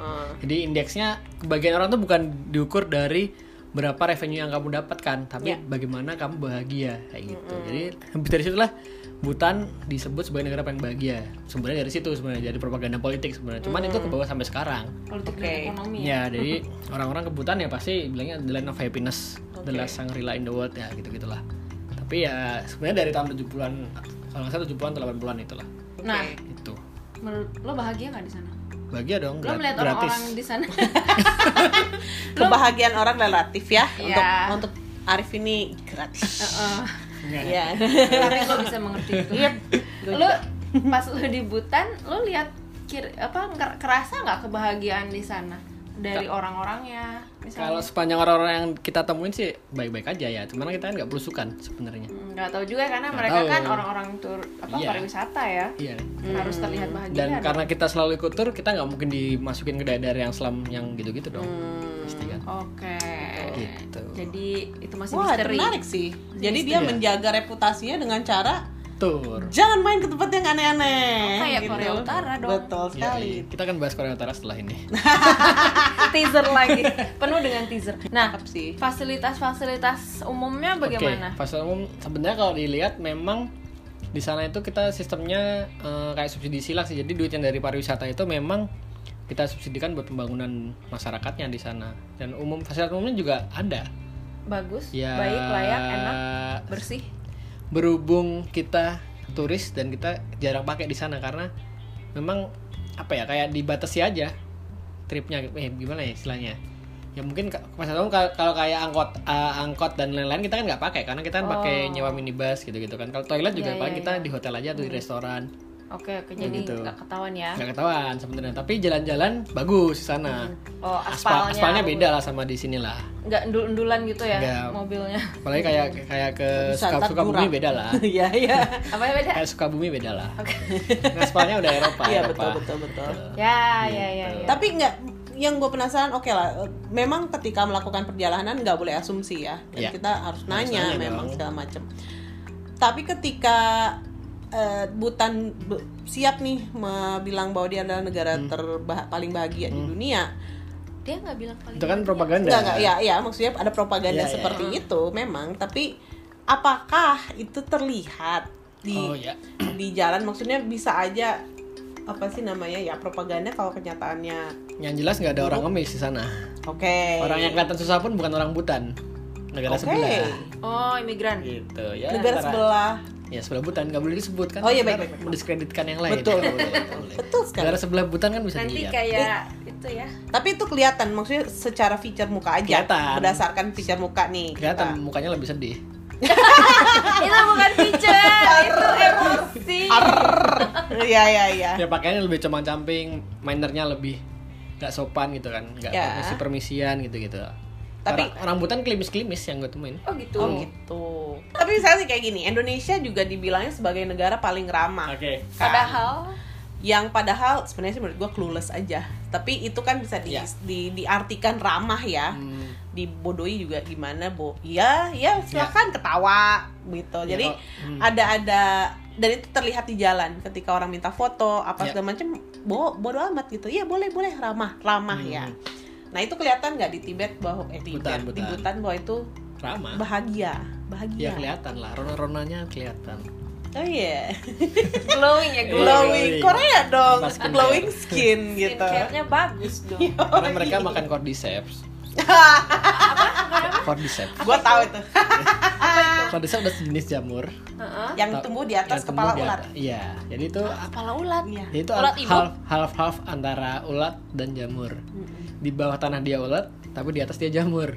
[SPEAKER 1] jadi indeksnya kebagian orang tuh bukan diukur dari berapa revenue yang kamu dapatkan, tapi
[SPEAKER 3] Ya.
[SPEAKER 1] bagaimana kamu bahagia kayak gitu. Jadi habis dari situlah Butan disebut sebagai negara paling bahagia. Sebenarnya dari situ sebenarnya jadi propaganda politik sebenarnya. Cuman itu
[SPEAKER 3] Mm.
[SPEAKER 1] ke bawah sampai sekarang.
[SPEAKER 3] Politik
[SPEAKER 2] Oke.
[SPEAKER 3] dan ekonomi. ya.
[SPEAKER 1] Ya, jadi orang-orang ke Butan ya pasti bilangnya the land of happiness, the last Shangri-La in the world ya gitu-gitulah. Tapi ya sebenarnya dari tahun 70-an kalau nggak salah 70-an atau 80-an itulah.
[SPEAKER 3] Nah,
[SPEAKER 1] Itu.
[SPEAKER 3] menurut lo bahagia nggak di sana?
[SPEAKER 1] Bahagia
[SPEAKER 3] Lo
[SPEAKER 1] dong, grat-
[SPEAKER 3] melihat
[SPEAKER 1] gratis.
[SPEAKER 3] orang-orang di sana?
[SPEAKER 2] Kebahagiaan orang relatif ya untuk
[SPEAKER 3] Iya.
[SPEAKER 2] untuk Arif ini gratis.
[SPEAKER 3] Heeh.
[SPEAKER 1] Nggak.
[SPEAKER 2] Iya.
[SPEAKER 3] tapi gue bisa mengerti itu. Lu pas lu di Butan, lu lihat kir apa ker- kerasa nggak kebahagiaan di sana dari orang-orangnya? Misalnya
[SPEAKER 1] Kalau sepanjang orang-orang yang kita temuin sih baik-baik aja ya, cuman kita kan nggak berusukan sebenarnya.
[SPEAKER 3] Hmm, nggak tahu juga karena
[SPEAKER 1] Nggak
[SPEAKER 3] mereka
[SPEAKER 1] tahu.
[SPEAKER 3] kan orang-orang tur apa
[SPEAKER 1] Iya.
[SPEAKER 3] pariwisata ya
[SPEAKER 1] Iya.
[SPEAKER 3] harus terlihat bahagia. kan?
[SPEAKER 1] Dan karena kita selalu ikut tur, kita nggak mungkin dimasukin ke daerah-daerah yang selam yang gitu-gitu dong.
[SPEAKER 3] Hmm.
[SPEAKER 1] Pasti kan.
[SPEAKER 3] Oke.
[SPEAKER 1] Gitu.
[SPEAKER 3] Jadi itu masih
[SPEAKER 2] Wah, itu
[SPEAKER 3] misteri.
[SPEAKER 2] menarik sih. Jadi dia menjaga reputasinya dengan cara
[SPEAKER 1] Tur.
[SPEAKER 2] jangan main ke tempat yang aneh-aneh. gitu.
[SPEAKER 3] Kayak Korea Utara dong.
[SPEAKER 2] Betul
[SPEAKER 1] Ya,
[SPEAKER 2] sekali.
[SPEAKER 1] iya. kita akan bahas Korea Utara setelah ini.
[SPEAKER 3] teaser lagi. Penuh dengan teaser. Nah,
[SPEAKER 2] Cakep sih.
[SPEAKER 3] fasilitas-fasilitas umumnya bagaimana?
[SPEAKER 1] Oke, pasar umum sebenarnya kalau dilihat memang di sana itu kita sistemnya eh, kayak subsidi silang sih. Jadi duit yang dari pariwisata itu memang kita subsidikan buat pembangunan masyarakatnya di sana. Dan umum fasilitas umumnya juga ada.
[SPEAKER 3] Bagus,
[SPEAKER 1] Ya,
[SPEAKER 3] baik, layak, enak, bersih.
[SPEAKER 1] berhubung kita turis dan kita jarang pakai di sana karena memang apa ya kayak dibatasi aja tripnya eh gimana ya istilahnya ya mungkin ka- maksud kamu kal- kalau kayak angkot eh, angkot dan lain-lain kita kan nggak pakai karena kita kan pakai
[SPEAKER 3] Oh.
[SPEAKER 1] nyewa minibus gitu-gitu kan kalau toilet juga
[SPEAKER 3] Iya,
[SPEAKER 1] paling
[SPEAKER 3] iya,
[SPEAKER 1] kita
[SPEAKER 3] iya.
[SPEAKER 1] di hotel aja atau di restoran
[SPEAKER 3] Oke, oke jadi
[SPEAKER 1] Begitu.
[SPEAKER 3] nggak ketahuan ya.
[SPEAKER 1] gitu. nggak ketahuan sebenarnya tapi jalan-jalan bagus di sana
[SPEAKER 3] Oh,
[SPEAKER 1] aspal
[SPEAKER 3] aspalnya.
[SPEAKER 1] aspalnya beda lah sama di sini lah
[SPEAKER 3] Nggak endul-endulan gitu ya
[SPEAKER 1] Nggak.
[SPEAKER 3] mobilnya.
[SPEAKER 1] apalagi kayak kayak ke
[SPEAKER 2] Wisata
[SPEAKER 1] suka bumi
[SPEAKER 2] kurang.
[SPEAKER 1] beda lah
[SPEAKER 2] Iya, iya.
[SPEAKER 3] Apa yang beda?
[SPEAKER 1] kayak Sukabumi beda lah. Aspalnya udah Eropa.
[SPEAKER 2] Iya,
[SPEAKER 1] Eropa.
[SPEAKER 2] betul betul betul.
[SPEAKER 3] Ya, ya, ya, ya.
[SPEAKER 2] Tapi nggak yang gue penasaran oke lah eh, memang ketika melakukan perjalanan nggak boleh asumsi ya Dan
[SPEAKER 1] Iya.
[SPEAKER 2] kita harus nanya,
[SPEAKER 1] nanya
[SPEAKER 2] memang
[SPEAKER 1] dong.
[SPEAKER 2] segala macem tapi ketika eh, Butan be- siap nih me- bilang bahwa dia adalah negara
[SPEAKER 1] Hmm.
[SPEAKER 2] terba- paling bahagia di dunia
[SPEAKER 3] Dia nggak bilang paling. gitu.
[SPEAKER 1] Itu kan propaganda.
[SPEAKER 2] nggak nggak ya ya maksudnya ada propaganda
[SPEAKER 1] Iya, iya,
[SPEAKER 2] seperti itu memang tapi apakah itu terlihat di
[SPEAKER 1] Oh ya.
[SPEAKER 2] di jalan maksudnya bisa aja apa sih namanya ya propaganda kalau kenyataannya
[SPEAKER 1] Yang jelas nggak ada orang ngemis di sana.
[SPEAKER 2] oke
[SPEAKER 1] Orang yang kelihatan susah pun bukan orang Butan. Negara
[SPEAKER 2] Oke.
[SPEAKER 1] sebelah.
[SPEAKER 3] Oh, imigran.
[SPEAKER 1] Gitu ya.
[SPEAKER 2] negara
[SPEAKER 1] antara-
[SPEAKER 2] sebelah
[SPEAKER 1] Ya sebelah Butan nggak boleh disebut kan.
[SPEAKER 2] Oh, iya,
[SPEAKER 1] Ntar
[SPEAKER 2] baik, baik, baik.
[SPEAKER 1] Mendiskreditkan yang lain.
[SPEAKER 2] Betul.
[SPEAKER 1] Nggak boleh, nggak boleh.
[SPEAKER 2] betul sekali
[SPEAKER 1] Negara sebelah Butan kan bisa
[SPEAKER 3] Nanti
[SPEAKER 1] dilihat.
[SPEAKER 3] kayak itu ya.
[SPEAKER 2] tapi itu kelihatan maksudnya secara feature muka aja
[SPEAKER 1] Kelihatan.
[SPEAKER 2] berdasarkan feature muka nih
[SPEAKER 1] Kelihatan mukanya lebih sedih.
[SPEAKER 2] kita.
[SPEAKER 3] itu bukan feature, itu emosi.
[SPEAKER 2] Iya iya iya.
[SPEAKER 1] ya pakaiannya lebih cuman camping minernya lebih nggak sopan gitu kan nggak
[SPEAKER 2] Ya.
[SPEAKER 1] permisi permisian gitu gitu
[SPEAKER 2] Tapi-
[SPEAKER 1] Ra- rambutan klimis klimis yang gue temuin
[SPEAKER 3] Oh gitu.
[SPEAKER 2] Oh gitu. Tapi misalnya sih kayak gini, Indonesia juga dibilangnya sebagai negara paling ramah. Kan?
[SPEAKER 3] Padahal
[SPEAKER 2] yang padahal sebenarnya sih menurut gue clueless aja. Tapi itu kan bisa di,
[SPEAKER 1] Iya.
[SPEAKER 2] di- diartikan ramah ya.
[SPEAKER 1] Hmm.
[SPEAKER 2] Dibodohi juga gimana, Bo? Ya, ya silakan ketawa gitu.
[SPEAKER 1] Ya,
[SPEAKER 2] Jadi
[SPEAKER 1] kok. Iya. Hmm.
[SPEAKER 2] ada ada dan itu terlihat di jalan ketika orang minta foto apa
[SPEAKER 1] Ya.
[SPEAKER 2] segala macam bo bodo amat gitu ya boleh boleh ramah ramah
[SPEAKER 1] Hmm.
[SPEAKER 2] ya nah itu kelihatan nggak di Tibet bahwa eh, Tibet,
[SPEAKER 1] Butan,
[SPEAKER 2] di
[SPEAKER 1] Butan.
[SPEAKER 2] Butan bahwa itu
[SPEAKER 1] ramah
[SPEAKER 2] bahagia
[SPEAKER 1] ya
[SPEAKER 3] Iya.
[SPEAKER 2] bahagia
[SPEAKER 1] kelihatan lah rona-ronanya kelihatan
[SPEAKER 2] oh iya
[SPEAKER 3] glowing ya glowing.
[SPEAKER 1] Eh, iya,
[SPEAKER 2] glowing Korea dong
[SPEAKER 1] Tanpa skincare.
[SPEAKER 2] glowing skin gitu
[SPEAKER 3] Skincare-nya bagus dong.
[SPEAKER 1] karena mereka makan cordyceps cordyceps
[SPEAKER 2] gue tahu itu
[SPEAKER 1] cordyceps udah sejenis jamur
[SPEAKER 3] Heeh.
[SPEAKER 2] yang
[SPEAKER 1] Ta-
[SPEAKER 2] tumbuh di atas
[SPEAKER 1] yang tumbuh
[SPEAKER 2] kepala
[SPEAKER 1] di
[SPEAKER 2] ular
[SPEAKER 1] atas. iya jadi itu
[SPEAKER 3] Kepala ulat.
[SPEAKER 2] Iya.
[SPEAKER 1] jadi itu
[SPEAKER 3] Ulat ibu.
[SPEAKER 1] half half half antara ulat dan jamur di bawah tanah dia ulat tapi di atas dia jamur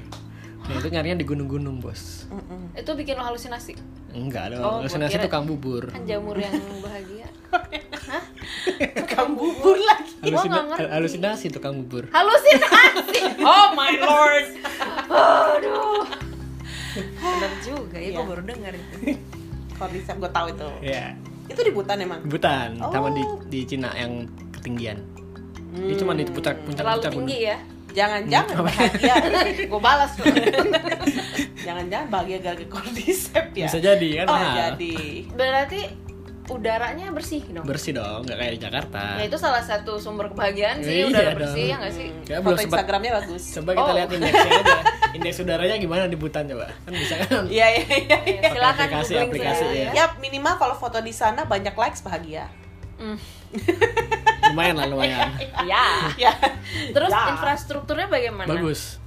[SPEAKER 1] nah itu nyarinya di gunung-gunung bos
[SPEAKER 2] Mm-mm.
[SPEAKER 3] Itu bikin lo halusinasi.
[SPEAKER 1] enggak dong
[SPEAKER 3] Oh, gua
[SPEAKER 1] halusinasi
[SPEAKER 3] kira-
[SPEAKER 1] tukang bubur
[SPEAKER 3] Kan jamur yang bahagia.
[SPEAKER 2] tukang bubur lagi
[SPEAKER 3] Gua nggak
[SPEAKER 1] Halusina-
[SPEAKER 3] ngerti.
[SPEAKER 1] halusinasi tukang bubur
[SPEAKER 3] Halusinasi. Oh my lord. Aduh. Bener juga ya,
[SPEAKER 2] Iya.
[SPEAKER 3] gue baru denger itu.
[SPEAKER 2] cordyceps gue tahu itu
[SPEAKER 1] ya
[SPEAKER 2] itu di Butan emang
[SPEAKER 1] Butan,
[SPEAKER 2] Oh.
[SPEAKER 1] sama di di Cina yang ketinggian. Jadi cuma di puncak puncak
[SPEAKER 3] Hmm. Terlalu
[SPEAKER 1] puncak
[SPEAKER 3] tinggi
[SPEAKER 1] gunung.
[SPEAKER 3] ya.
[SPEAKER 2] jangan-jangan bahagia gue balas tuh. jangan-jangan bahagia gara-gara cordyceps ya
[SPEAKER 1] Bisa jadi kan
[SPEAKER 2] oh,
[SPEAKER 1] mahal.
[SPEAKER 2] jadi
[SPEAKER 3] Berarti udaranya bersih dong.
[SPEAKER 1] Bersih dong, nggak kayak di Jakarta.
[SPEAKER 3] Nah itu salah satu sumber kebahagiaan sih
[SPEAKER 1] Iya
[SPEAKER 3] udara
[SPEAKER 1] dong.
[SPEAKER 3] bersih ya nggak sih?
[SPEAKER 1] Kayak
[SPEAKER 2] foto
[SPEAKER 1] belum sempat.
[SPEAKER 2] Instagramnya bagus
[SPEAKER 1] Coba kita
[SPEAKER 3] Oh.
[SPEAKER 1] lihat indeksnya aja. Indeks udaranya gimana di Butan coba? Kan bisa kan?
[SPEAKER 2] iya iya iya
[SPEAKER 3] Iya, Silakan
[SPEAKER 1] aplikasi-
[SPEAKER 3] googling
[SPEAKER 1] aplikasi
[SPEAKER 3] sendiri
[SPEAKER 1] ya.
[SPEAKER 2] ya minimal kalau foto di sana banyak likes bahagia
[SPEAKER 3] Mm.
[SPEAKER 1] Lumayan lah lumayan.
[SPEAKER 3] Ya.
[SPEAKER 2] ya
[SPEAKER 3] Terus
[SPEAKER 2] Ya.
[SPEAKER 3] infrastrukturnya bagaimana?
[SPEAKER 1] Bagus.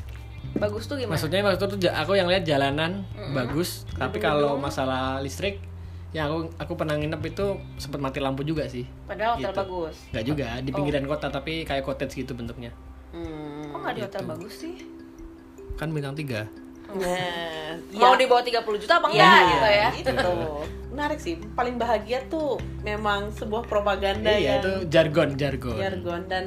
[SPEAKER 3] Bagus tuh gimana?
[SPEAKER 1] Maksudnya maksudnya tuh ja- aku yang lihat jalanan bagus, tapi kalau masalah listrik ya aku aku pernah nginep itu sempat mati lampu juga sih.
[SPEAKER 3] Padahal hotel
[SPEAKER 1] Gitu.
[SPEAKER 3] bagus.
[SPEAKER 1] Nggak juga, di pinggiran kota tapi kayak cottage gitu bentuknya.
[SPEAKER 2] Hmm.
[SPEAKER 3] Kok
[SPEAKER 1] Gitu.
[SPEAKER 3] nggak di hotel bagus sih?
[SPEAKER 1] Kan bintang tiga.
[SPEAKER 2] Nah,
[SPEAKER 3] Mau
[SPEAKER 2] ya.
[SPEAKER 3] di bawah 30 juta apa enggak
[SPEAKER 1] Iya.
[SPEAKER 3] gitu ya?
[SPEAKER 2] itu menarik sih paling bahagia tuh memang sebuah propaganda
[SPEAKER 1] Iya,
[SPEAKER 2] yang
[SPEAKER 1] itu jargon, jargon.
[SPEAKER 2] jargon dan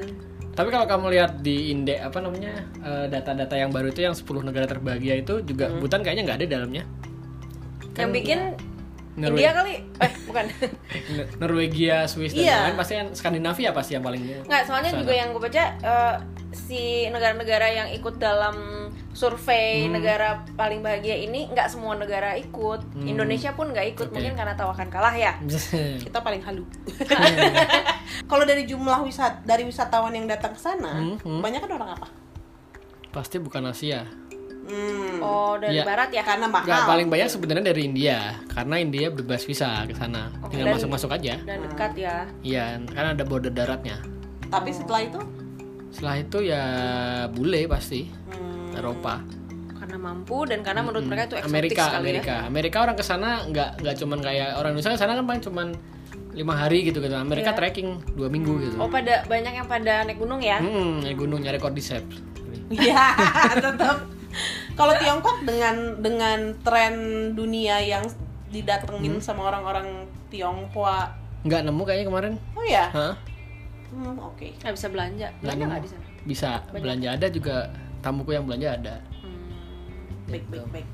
[SPEAKER 1] Tapi kalau kamu lihat di indeks apa namanya eh, data-data yang baru itu yang 10 negara terbahagia itu juga Butan kayaknya nggak ada di dalamnya. Kan
[SPEAKER 3] Yang bikin
[SPEAKER 1] Norwe-
[SPEAKER 3] India kali? Eh, bukan.
[SPEAKER 1] N- Norwegia, Swiss dan
[SPEAKER 2] Iya.
[SPEAKER 1] lain-lain pasti yang Skandinavia pasti yang paling
[SPEAKER 3] Enggak, soalnya
[SPEAKER 1] Sana.
[SPEAKER 3] juga yang gue baca eh, si negara-negara yang ikut dalam survei
[SPEAKER 1] Hmm.
[SPEAKER 3] negara paling bahagia ini nggak semua negara ikut.
[SPEAKER 1] Hmm.
[SPEAKER 3] Indonesia pun nggak ikut,
[SPEAKER 1] Oke. Hmm.
[SPEAKER 3] mungkin karena tahu akan kalah ya.
[SPEAKER 2] kita paling halu kalau dari jumlah wisat dari wisatawan yang datang ke sana
[SPEAKER 1] Hmm, hmm.
[SPEAKER 2] kebanyakan orang apa
[SPEAKER 1] pasti bukan Asia.
[SPEAKER 2] Hmm.
[SPEAKER 3] Oh, dari
[SPEAKER 1] Iya.
[SPEAKER 3] barat ya.
[SPEAKER 2] karena
[SPEAKER 1] Nggak,
[SPEAKER 2] mahal
[SPEAKER 1] paling banyak sebenarnya dari India karena India bebas visa ke sana.
[SPEAKER 3] Oke, dan-
[SPEAKER 1] Tinggal masuk-masuk aja.
[SPEAKER 3] Dan dekat ya.
[SPEAKER 1] Iya, karena ada border daratnya.
[SPEAKER 2] tapi setelah itu
[SPEAKER 1] Setelah itu ya bule pasti
[SPEAKER 2] hmm.
[SPEAKER 1] Eropa.
[SPEAKER 3] Karena mampu dan karena menurut mereka itu eksotis
[SPEAKER 1] Hmm. Amerika,
[SPEAKER 3] sekali
[SPEAKER 1] Amerika.
[SPEAKER 3] ya.
[SPEAKER 1] Amerika orang ke sana nggak nggak cuman kayak orang Indonesia ke sana kan paling cuman lima hari gitu gitu.
[SPEAKER 3] Iya.
[SPEAKER 1] Amerika trekking dua minggu gitu.
[SPEAKER 3] Oh, pada banyak yang pada naik gunung ya.
[SPEAKER 1] Hmm, naik gunung nyari cordyceps.
[SPEAKER 2] ya tetap kalau Tiongkok dengan dengan tren dunia yang didatengin sama orang-orang Tionghoa
[SPEAKER 1] Nggak nemu kayaknya kemarin.
[SPEAKER 2] oh ya
[SPEAKER 1] Hah?
[SPEAKER 2] Hmm, oke
[SPEAKER 3] Nggak bisa belanja. Belanja
[SPEAKER 1] nemu.
[SPEAKER 3] nggak di sana?
[SPEAKER 1] Bisa belanja ada juga tamuku yang belanja ada
[SPEAKER 2] baik baik baik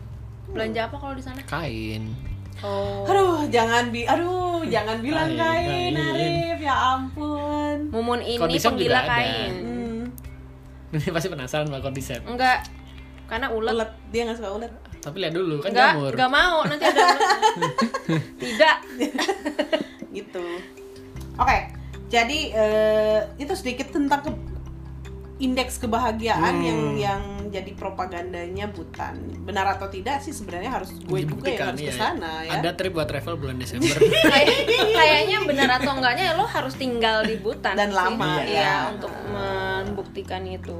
[SPEAKER 3] Hmm. Belanja apa kalau di sana?
[SPEAKER 1] kain.
[SPEAKER 3] Oh.
[SPEAKER 2] aduh jangan bi aduh jangan bilang
[SPEAKER 1] Kain,
[SPEAKER 2] kain
[SPEAKER 1] kain.
[SPEAKER 2] Arif ya ampun
[SPEAKER 3] Mumun ini
[SPEAKER 1] Condition
[SPEAKER 3] penggila
[SPEAKER 1] juga ada.
[SPEAKER 3] kain.
[SPEAKER 2] hmm.
[SPEAKER 1] Ini pasti penasaran sama cordyceps.
[SPEAKER 3] Enggak. Karena ulet.
[SPEAKER 2] ulet dia nggak suka ulet
[SPEAKER 1] Tapi lihat dulu kan
[SPEAKER 3] Enggak,
[SPEAKER 1] jamur.
[SPEAKER 3] enggak mau. Nanti ada ulet. Tidak.
[SPEAKER 2] gitu oke jadi eh, itu sedikit tentang ke indeks kebahagiaan
[SPEAKER 1] Hmm.
[SPEAKER 2] yang yang jadi propagandanya Butan benar atau tidak sih sebenarnya harus gue juga yang
[SPEAKER 1] Dibuktikan,
[SPEAKER 2] harus
[SPEAKER 1] iya.
[SPEAKER 2] ke sana ya
[SPEAKER 1] Ada trip buat travel bulan Desember.
[SPEAKER 3] Kayak- kayaknya benar atau enggaknya lo harus tinggal di Butan sih.
[SPEAKER 2] Dan lama,
[SPEAKER 3] Iya,
[SPEAKER 2] ya.
[SPEAKER 3] untuk membuktikan itu.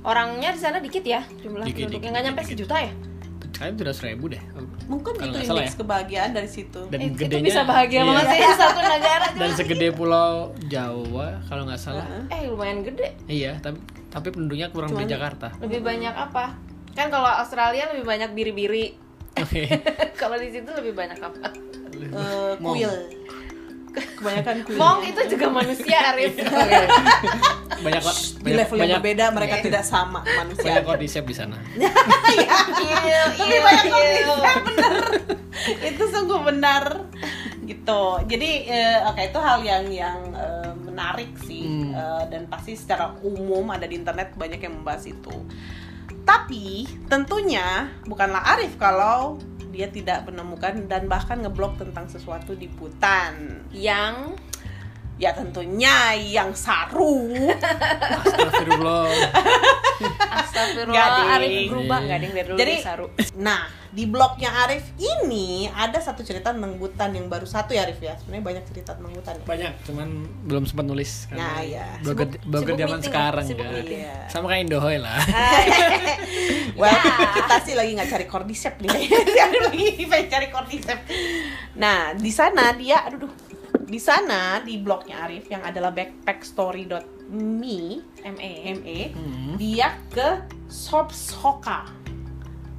[SPEAKER 3] Orangnya di sana dikit ya jumlah
[SPEAKER 1] Dikit,
[SPEAKER 3] penduduknya
[SPEAKER 1] dikit,
[SPEAKER 3] nggak nyampe
[SPEAKER 1] dikit.
[SPEAKER 3] sejuta ya.
[SPEAKER 1] Kain sudah seribu deh.
[SPEAKER 2] mungkin
[SPEAKER 1] Kalau
[SPEAKER 2] itu
[SPEAKER 1] nggak salah ya.
[SPEAKER 2] indeks kebahagiaan dari situ
[SPEAKER 1] Dan
[SPEAKER 3] Eh,
[SPEAKER 1] gedenya.
[SPEAKER 3] itu bisa bahagia
[SPEAKER 1] iya.
[SPEAKER 3] banget sih satu negara.
[SPEAKER 1] Dan segede pulau Jawa kalau nggak salah.
[SPEAKER 3] Eh lumayan gede.
[SPEAKER 1] Iya, tapi tapi penduduknya kurang dari Jakarta.
[SPEAKER 3] Lebih banyak apa? Kan kalau Australia lebih banyak biri-biri.
[SPEAKER 1] Oke.
[SPEAKER 3] Kalau di situ lebih banyak apa?
[SPEAKER 2] Eh,
[SPEAKER 1] Mong.
[SPEAKER 2] kuil. Kebanyakan kuil.
[SPEAKER 3] Mong itu juga manusia, Arif.
[SPEAKER 1] Banyak kok.
[SPEAKER 2] di level
[SPEAKER 1] banyak-
[SPEAKER 2] yang
[SPEAKER 1] banyak- Iya,
[SPEAKER 2] berbeda mereka tidak sama
[SPEAKER 1] Banyak
[SPEAKER 2] manusia.
[SPEAKER 1] kondisep di sana.
[SPEAKER 3] Iya.
[SPEAKER 2] Lebih banyak kondisep, bener. itu sungguh benar. Gitu. Jadi eh, oke itu hal yang yang eh, menarik sih
[SPEAKER 1] Hmm.
[SPEAKER 2] Eh, dan pasti secara umum ada di internet banyak yang membahas itu. Tapi tentunya bukanlah Arif kalau dia tidak menemukan dan bahkan ngeblok tentang sesuatu di Butan.
[SPEAKER 3] Yang
[SPEAKER 2] Ya tentunya yang saru
[SPEAKER 1] Astagfirullah.
[SPEAKER 2] Nggak,
[SPEAKER 3] astagfirullah
[SPEAKER 2] Ding.
[SPEAKER 3] Arif berubah nggak ding dari dulu
[SPEAKER 2] Jadi-
[SPEAKER 3] dia saru.
[SPEAKER 2] Nah, di blognya Arif ini ada satu cerita tentang Butan yang baru satu ya Arif ya. Sebenarnya banyak cerita tentang Butan. ya.
[SPEAKER 1] Banyak, cuman belum sempat nulis kan.
[SPEAKER 2] Nah,
[SPEAKER 1] karena
[SPEAKER 2] iya.
[SPEAKER 1] blogger
[SPEAKER 3] Sibuk-
[SPEAKER 1] blogger
[SPEAKER 3] sibuk
[SPEAKER 1] zaman
[SPEAKER 3] meeting,
[SPEAKER 1] sekarang
[SPEAKER 3] sibuk
[SPEAKER 1] kan.
[SPEAKER 3] meeting.
[SPEAKER 2] Iya.
[SPEAKER 1] Sama kayak Indohoy lah.
[SPEAKER 2] Well, kita sih lagi nggak cari cordyceps nih. Si Arif Ya. lagi pengen cari cordyceps. Nah, di sana dia aduh duh. Di sana di blognya Arif yang adalah backpackstory.me
[SPEAKER 3] ME.
[SPEAKER 2] ME, E,
[SPEAKER 1] Hmm.
[SPEAKER 2] dia ke Sobsoka.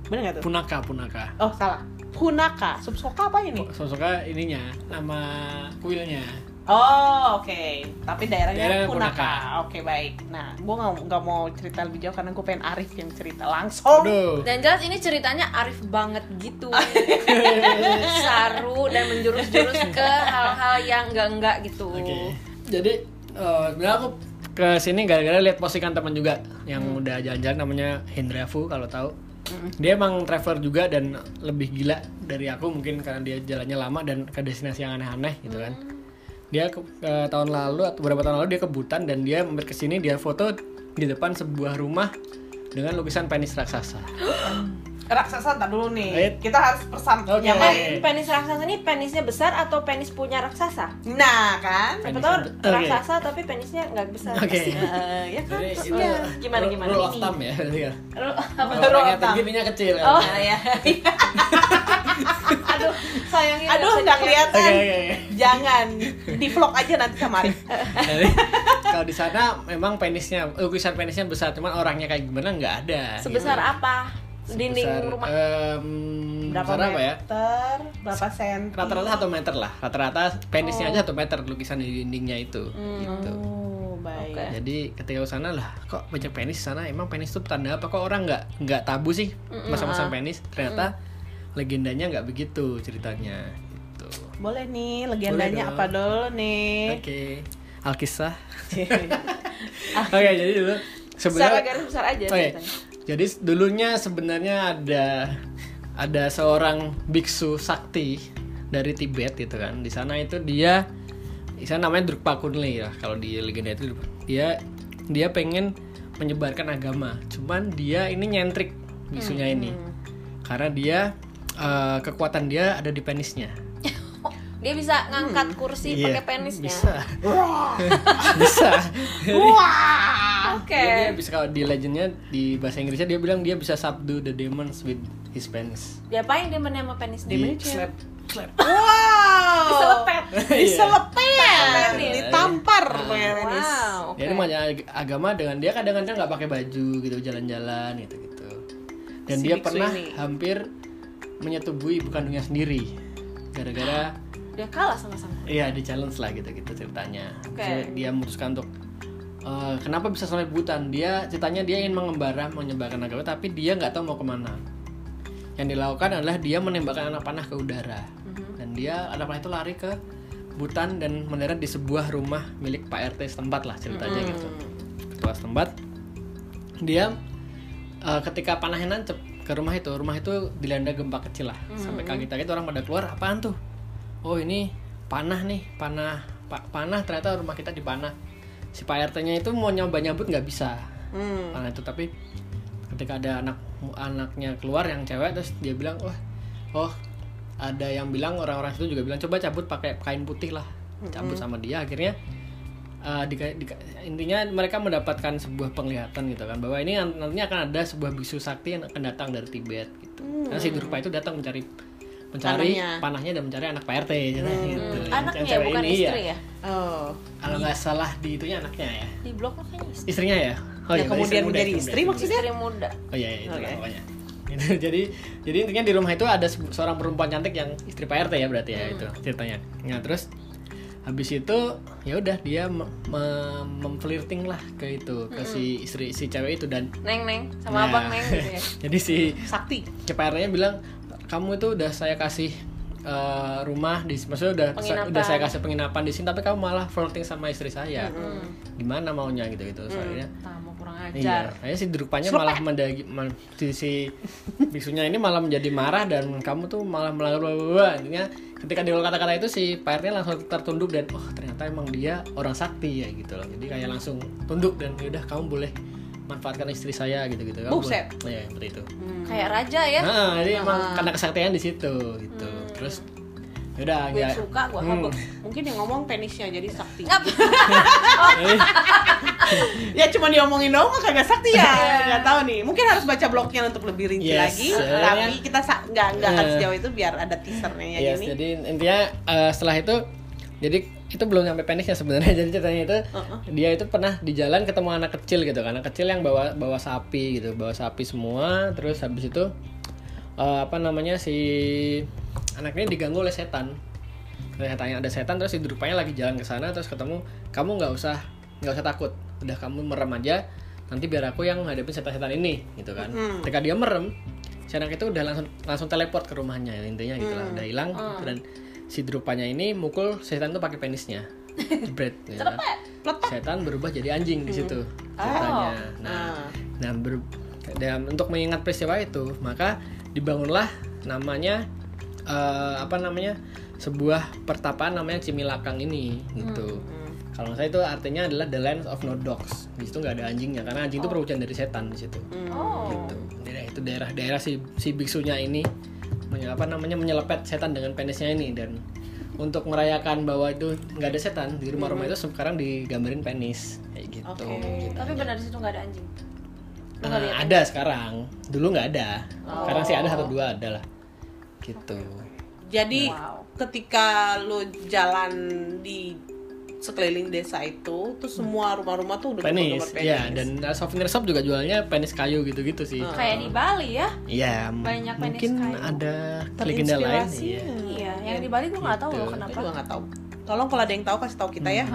[SPEAKER 2] Bener nggak tuh?
[SPEAKER 1] Punaka, Punaka.
[SPEAKER 2] Oh, salah. Punaka. Sobsoka apa ini?
[SPEAKER 1] Sosoka ininya nama kuilnya.
[SPEAKER 2] Oh oke, tapi daerahnya
[SPEAKER 1] Daerahnya
[SPEAKER 2] Punaka. Oke baik. Nah, gue nggak nggak mau cerita lebih jauh karena gue pengen Arif yang cerita langsung.
[SPEAKER 1] Aduh.
[SPEAKER 3] Dan jelas ini ceritanya Arif banget gitu. saru dan menjurus-jurus ke hal-hal yang enggak-enggak gitu.
[SPEAKER 1] Oke. Jadi eh, sebenarnya aku ke sini gara-gara lihat postingan teman juga yang udah jalan-jalan namanya Hendrafu kalau tahu. Dia emang traveler juga dan lebih gila dari aku mungkin karena dia jalannya lama dan ke destinasi yang aneh-aneh gitu kan. Dia ke, ke tahun lalu atau beberapa tahun lalu dia ke Butan dan dia mampir ke sini dia foto di depan sebuah rumah dengan lukisan penis raksasa.
[SPEAKER 2] Raksasa ntar dulu nih.
[SPEAKER 1] Baik.
[SPEAKER 2] Kita harus persan
[SPEAKER 1] Oke.
[SPEAKER 3] Eh,
[SPEAKER 2] nyamain.
[SPEAKER 3] penis raksasa ini penisnya besar atau penis punya raksasa?
[SPEAKER 2] Nah kan.
[SPEAKER 3] Siapa
[SPEAKER 1] Penis
[SPEAKER 3] tahu
[SPEAKER 1] ada- Oke.
[SPEAKER 3] raksasa tapi penisnya nggak besar.
[SPEAKER 1] Oke.
[SPEAKER 2] Eh, ya kan.
[SPEAKER 1] Jadi itu
[SPEAKER 2] Iya.
[SPEAKER 3] Gimana, gimana
[SPEAKER 1] rule of
[SPEAKER 3] ini?
[SPEAKER 1] thumb ya. Iya.
[SPEAKER 3] Lu apa?
[SPEAKER 1] Kalau
[SPEAKER 2] Rule of
[SPEAKER 1] orangnya
[SPEAKER 2] thumb.
[SPEAKER 1] tinggi, ininya kecil. kan?
[SPEAKER 3] Oh.
[SPEAKER 2] Nah, ya.
[SPEAKER 3] Aduh, sayangnya
[SPEAKER 2] Aduh
[SPEAKER 3] bisa
[SPEAKER 2] nggak
[SPEAKER 3] di-
[SPEAKER 1] Oke,
[SPEAKER 2] kelihatan.
[SPEAKER 1] oke, oke. Hmm,
[SPEAKER 2] Jangan di vlog aja nanti sama Arif.
[SPEAKER 1] Jadi, kalau di sana memang penisnya lukisan penisnya besar, cuman orangnya kayak gimana nggak ada. Iya.
[SPEAKER 3] Sebesar apa? Dinding
[SPEAKER 1] Sebesar, eh,
[SPEAKER 3] rumah.
[SPEAKER 1] em, besar apa ya?
[SPEAKER 2] meter? Berapa senti?
[SPEAKER 1] Rata-rata satu meter lah. Rata-rata penisnya
[SPEAKER 3] Oh.
[SPEAKER 1] aja satu meter lukisan di dindingnya itu.
[SPEAKER 3] Hmm.
[SPEAKER 1] Gitu.
[SPEAKER 2] Oh baik.
[SPEAKER 3] Oke.
[SPEAKER 1] Jadi ketika ke sana lah, kok banyak penis di sana? Emang penis itu tanda apa? Kok orang nggak nggak tabu sih
[SPEAKER 3] Mm-mm,
[SPEAKER 1] masa-masa
[SPEAKER 3] ah.
[SPEAKER 1] penis? Ternyata legendanya nggak begitu ceritanya. Gitu.
[SPEAKER 2] Boleh nih legendanya
[SPEAKER 1] Boleh dong.
[SPEAKER 2] apa dulu nih?
[SPEAKER 1] Oke, Alkisah. Oke, jadi dulu
[SPEAKER 3] Secara
[SPEAKER 1] sebenarnya
[SPEAKER 3] garis besar aja
[SPEAKER 1] Oke.
[SPEAKER 3] ceritanya.
[SPEAKER 1] Jadi dulunya sebenarnya ada ada seorang biksu sakti dari Tibet gitu kan. Di sana itu dia di sana namanya Drukpa Kunle lah kalau di legenda itu dia dia pengen menyebarkan agama. Cuman dia ini nyentrik biksunya ini.
[SPEAKER 3] Hmm,
[SPEAKER 1] Karena dia eh, kekuatan dia ada di penisnya.
[SPEAKER 3] Dia bisa ngangkat kursi pakai
[SPEAKER 1] Iya,
[SPEAKER 3] penisnya.
[SPEAKER 1] Bisa. bisa. Jadi-
[SPEAKER 2] Wah.
[SPEAKER 3] Oke.
[SPEAKER 1] Dia- Dia bisa kalau di legendnya di bahasa Inggrisnya dia bilang dia bisa subdue the demons with his penis.
[SPEAKER 3] Diapain dia menama penis dia?
[SPEAKER 1] Di slap slap.
[SPEAKER 2] Wow.
[SPEAKER 3] Diselepet.
[SPEAKER 1] Iya.
[SPEAKER 2] Diselepet.
[SPEAKER 1] Diselepet.
[SPEAKER 2] Ditampar
[SPEAKER 1] Iya.
[SPEAKER 2] pakai penis.
[SPEAKER 3] Wow, Oh, oke.
[SPEAKER 1] Jadi banyak ag- agama dengan dia kadang-kadang nggak pakai baju gitu jalan-jalan gitu gitu. Dan
[SPEAKER 2] Si
[SPEAKER 1] dia
[SPEAKER 2] biksu
[SPEAKER 1] pernah
[SPEAKER 2] ini.
[SPEAKER 1] hampir menyetubuhi ibu kandungnya sendiri gara-gara
[SPEAKER 3] Dia kalah sama-sama.
[SPEAKER 1] Iya di challenge lah gitu gitu ceritanya.
[SPEAKER 3] Oke.
[SPEAKER 1] Terus Dia memutuskan untuk eh, kenapa bisa sampai butan? Dia ceritanya dia ingin mengembara menyebarkan agama tapi dia nggak tahu mau kemana. Yang dilakukan adalah dia menembakkan anak panah ke udara dan dia anak panah itu lari ke butan dan mendarat di sebuah rumah milik Pak RT setempat lah ceritanya gitu. Ketua setempat dia eh, ketika panahnya nancep ke rumah itu rumah itu dilanda gempa kecil lah sampai kaget kaget orang pada keluar apaan tuh oh ini panah nih panah pa- panah ternyata rumah kita dipanah si pak rt nya itu mau nyoba nyambut nggak bisa
[SPEAKER 2] Hmm.
[SPEAKER 1] panah Nah, itu tapi ketika ada anak anaknya keluar yang cewek terus dia bilang wah oh ada yang bilang orang-orang situ juga bilang coba cabut pakai kain putih lah cabut sama dia akhirnya eh, dika- dika- intinya mereka mendapatkan sebuah penglihatan gitu kan bahwa ini nan- nantinya akan ada sebuah bisu sakti yang akan datang dari Tibet gitu. Karena si Durpa itu datang mencari mencari
[SPEAKER 2] Panahnya.
[SPEAKER 1] panahnya, dan mencari anak Pak RT
[SPEAKER 3] Iya,
[SPEAKER 1] gitu. Yang
[SPEAKER 3] Anaknya
[SPEAKER 1] cewek
[SPEAKER 3] bukan
[SPEAKER 1] ini,
[SPEAKER 3] istri
[SPEAKER 1] ya.
[SPEAKER 3] ya.
[SPEAKER 2] Oh.
[SPEAKER 1] Kalau nggak salah di itunya anaknya ya.
[SPEAKER 3] Di blok lo kayaknya istri.
[SPEAKER 1] Istrinya ya. Oh,
[SPEAKER 2] Yang
[SPEAKER 1] iya, berarti
[SPEAKER 2] kemudian
[SPEAKER 1] muda,
[SPEAKER 2] menjadi
[SPEAKER 1] istri
[SPEAKER 2] istri
[SPEAKER 1] muda.
[SPEAKER 2] maksudnya?
[SPEAKER 3] Istri muda.
[SPEAKER 1] Oh iya, iya, itu
[SPEAKER 2] Oke.
[SPEAKER 1] pokoknya. gitu. jadi jadi intinya di rumah itu ada se- seorang perempuan cantik yang istri Pak RT ya berarti ya
[SPEAKER 3] Hmm.
[SPEAKER 1] itu ceritanya nah terus habis itu ya udah dia me- me- memflirting lah ke itu ke si istri si cewek itu dan
[SPEAKER 3] neng neng Hmm. sama
[SPEAKER 1] Nah,
[SPEAKER 3] abang neng gitu ya
[SPEAKER 1] jadi si
[SPEAKER 2] sakti
[SPEAKER 1] CPR-nya bilang kamu itu udah saya kasih eh, rumah di maksudnya udah sa-
[SPEAKER 3] Penginapan.
[SPEAKER 1] udah saya kasih penginapan di sini tapi kamu malah flirting sama istri saya.
[SPEAKER 3] hmm.
[SPEAKER 1] Gimana maunya gitu gitu soalnya.
[SPEAKER 3] tamu kurang
[SPEAKER 1] Iya,
[SPEAKER 3] ajar
[SPEAKER 1] akhirnya si Drupanya malah mendagi mal- si, si biksunya ini malah menjadi marah dan kamu tuh malah melanggar bla bla bla. Intinya ketika diulang kata-kata itu si PR-nya langsung tertunduk dan oh ternyata emang dia orang sakti ya gitu loh. Jadi kayak langsung tunduk dan yaudah kamu boleh manfaatkan istri saya gitu gitu.
[SPEAKER 2] Buset.
[SPEAKER 1] Iya, seperti itu.
[SPEAKER 2] Hmm.
[SPEAKER 3] kayak raja ya
[SPEAKER 1] Nah, jadi emang karena kesaktian di situ gitu. Terus yaudah
[SPEAKER 3] gue
[SPEAKER 1] ya.
[SPEAKER 3] suka gue
[SPEAKER 1] Hmm.
[SPEAKER 3] habuk
[SPEAKER 2] mungkin yang ngomong penisnya jadi sakti
[SPEAKER 3] Ngap.
[SPEAKER 1] Jadi,
[SPEAKER 2] ya cuma diomongin doang mah kagak sakti ya
[SPEAKER 3] Iya.
[SPEAKER 2] nggak tahu nih mungkin harus baca blognya untuk lebih rinci
[SPEAKER 1] Yes,
[SPEAKER 2] lagi
[SPEAKER 1] eh.
[SPEAKER 2] tapi kita sa- nggak nggak akan
[SPEAKER 1] Eh.
[SPEAKER 2] sejauh itu biar ada teasernya ya
[SPEAKER 1] yes,
[SPEAKER 2] ini
[SPEAKER 1] jadi intinya eh, setelah itu jadi itu belum sampai penisnya sebenarnya jadi ceritanya itu dia itu pernah di jalan ketemu anak kecil gitu anak kecil yang bawa bawa sapi gitu bawa sapi semua terus habis itu eh, apa namanya si anak ini diganggu oleh setan Terus tanya ada setan terus si Drupanya lagi jalan ke sana terus ketemu kamu nggak usah nggak usah takut udah kamu merem aja nanti biar aku yang ngadepin setan-setan ini gitu kan ketika dia merem si anak itu udah langsung langsung teleport ke rumahnya intinya gitu lah udah hilang dan si Drupanya ini mukul setan itu pakai penisnya jebret gitu kan. setan berubah jadi anjing di situ ceritanya
[SPEAKER 2] Ah.
[SPEAKER 1] nah Nah, ber- dan untuk mengingat peristiwa itu, maka dibangunlah namanya eh, apa namanya? sebuah pertapaan namanya Cimilakang ini
[SPEAKER 2] Hmm,
[SPEAKER 1] gitu. Kalau nggak salah itu artinya adalah the land of no dogs. Di situ nggak ada anjingnya karena
[SPEAKER 2] Oh.
[SPEAKER 1] anjing itu perwujudan dari setan di situ.
[SPEAKER 2] Hmm.
[SPEAKER 3] oh
[SPEAKER 1] Gitu. Daerah itu daerah-daerah si si biksunya ini menye- apa namanya menyelepet setan dengan penisnya ini dan untuk merayakan bahwa itu nggak ada setan di rumah-rumah itu sekarang digambarin penis kayak gitu.
[SPEAKER 2] Hmm. Oke.
[SPEAKER 1] ceritanya.
[SPEAKER 3] tapi benar di situ nggak ada anjing
[SPEAKER 1] Nah, ada sekarang. Dulu nggak ada. Sekarang sih ada satu dua ada lah. Oh. Gitu.
[SPEAKER 2] Jadi
[SPEAKER 3] Wow.
[SPEAKER 2] ketika lo jalan di sekeliling desa itu, tuh semua rumah-rumah tuh udah
[SPEAKER 1] Penis,
[SPEAKER 2] gambar-gambar
[SPEAKER 1] ya dan uh, souvenir shop juga jualnya penis kayu gitu-gitu sih.
[SPEAKER 3] kayak di Bali ya
[SPEAKER 1] Iya, m-
[SPEAKER 3] Banyak penis
[SPEAKER 1] mungkin
[SPEAKER 3] kayu.
[SPEAKER 1] ada legenda lain.
[SPEAKER 2] Terinspirasi.
[SPEAKER 1] Iya.
[SPEAKER 3] iya yang di Bali gue nggak tahu
[SPEAKER 1] Gitu.
[SPEAKER 3] loh
[SPEAKER 2] Gue
[SPEAKER 3] kenapa
[SPEAKER 2] juga nggak tahu. Tolong kalau ada yang tahu kasih tahu kita ya.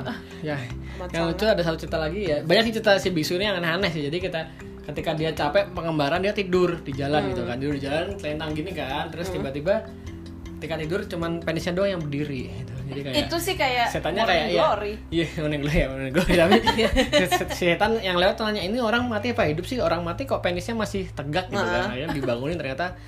[SPEAKER 1] Ya.
[SPEAKER 2] Amat
[SPEAKER 1] Yang lucu ada satu cerita lagi ya. Banyak sih cerita si biksu ini yang aneh-aneh sih. Jadi kita ketika dia capek pengembaraan dia tidur di jalan gitu kan. Tidur di jalan telentang gini kan. Terus tiba-tiba ketika tidur cuman penisnya doang yang berdiri gitu. Jadi kayak
[SPEAKER 3] itu sih kayak
[SPEAKER 1] setannya
[SPEAKER 3] morning
[SPEAKER 1] kayak iya
[SPEAKER 3] glory.
[SPEAKER 1] iya morning glory ya morning glory tapi
[SPEAKER 2] Iya.
[SPEAKER 1] se- setan yang lewat tuh nanya ini orang mati apa hidup sih orang mati kok penisnya masih tegak gitu kan akhirnya dibangunin ternyata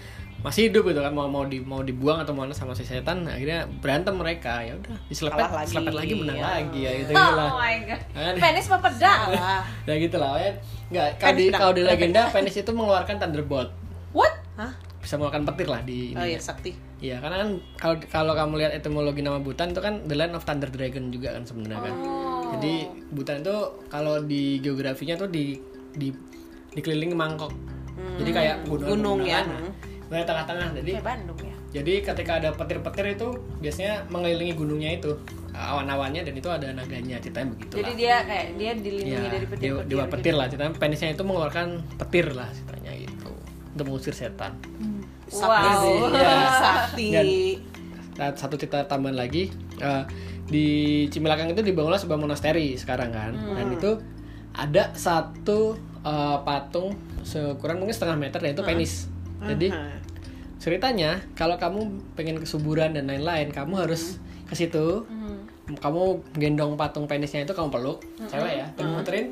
[SPEAKER 1] masih hidup gitu kan mau mau di mau dibuang atau mana sama si setan akhirnya berantem mereka ya udah diselepet
[SPEAKER 2] Kalah lagi.
[SPEAKER 1] selepet lagi menang
[SPEAKER 2] Ya.
[SPEAKER 1] lagi ya gitu
[SPEAKER 3] oh
[SPEAKER 1] lah Kan.
[SPEAKER 3] my god
[SPEAKER 1] Ada.
[SPEAKER 3] penis apa pedang
[SPEAKER 2] Wah,
[SPEAKER 1] ya gitu lah ya nggak kalau di
[SPEAKER 2] Penis
[SPEAKER 1] kalau di legenda penis itu mengeluarkan thunderbolt
[SPEAKER 3] what
[SPEAKER 2] hah?
[SPEAKER 1] bisa mengeluarkan petir lah di
[SPEAKER 2] Oh
[SPEAKER 1] ininya.
[SPEAKER 2] iya sakti.
[SPEAKER 1] Iya, karena kan kalau kalau kamu lihat etimologi nama Butan itu kan the land of thunder dragon juga kan sebenarnya kan.
[SPEAKER 2] Oh.
[SPEAKER 1] Jadi Butan itu kalau di geografinya tuh di di dikelilingi mangkok.
[SPEAKER 3] Hmm.
[SPEAKER 1] Jadi kayak
[SPEAKER 2] Gunung
[SPEAKER 1] gunung-gunungan.
[SPEAKER 2] ya.
[SPEAKER 1] Nah, Nah, tengah-tengah. Jadi
[SPEAKER 3] kayak Bandung ya
[SPEAKER 1] jadi ketika ada petir-petir itu biasanya mengelilingi gunungnya itu awan-awannya dan itu ada naganya ceritanya begitu
[SPEAKER 3] jadi
[SPEAKER 1] lah.
[SPEAKER 3] dia kayak dia
[SPEAKER 1] Iya,
[SPEAKER 3] dilindungi dari
[SPEAKER 1] dewa,
[SPEAKER 3] petir-petir
[SPEAKER 1] dewa
[SPEAKER 3] gitu.
[SPEAKER 1] petir lah ceritanya penisnya itu mengeluarkan petir lah ceritanya gitu untuk mengusir setan.
[SPEAKER 2] Sakti.
[SPEAKER 3] Wow.
[SPEAKER 1] Iya.
[SPEAKER 2] Sakti.
[SPEAKER 1] Dan- Nah, satu cerita tambahan lagi eh, di Cimelakang itu dibangunlah sebuah monasteri sekarang kan dan itu ada satu eh, patung seukuran mungkin setengah meter dan itu penis jadi
[SPEAKER 2] Hah.
[SPEAKER 1] ceritanya kalau kamu pengen kesuburan dan lain-lain kamu harus ke situ kamu gendong patung penisnya itu kamu peluk cewek ya dan muterin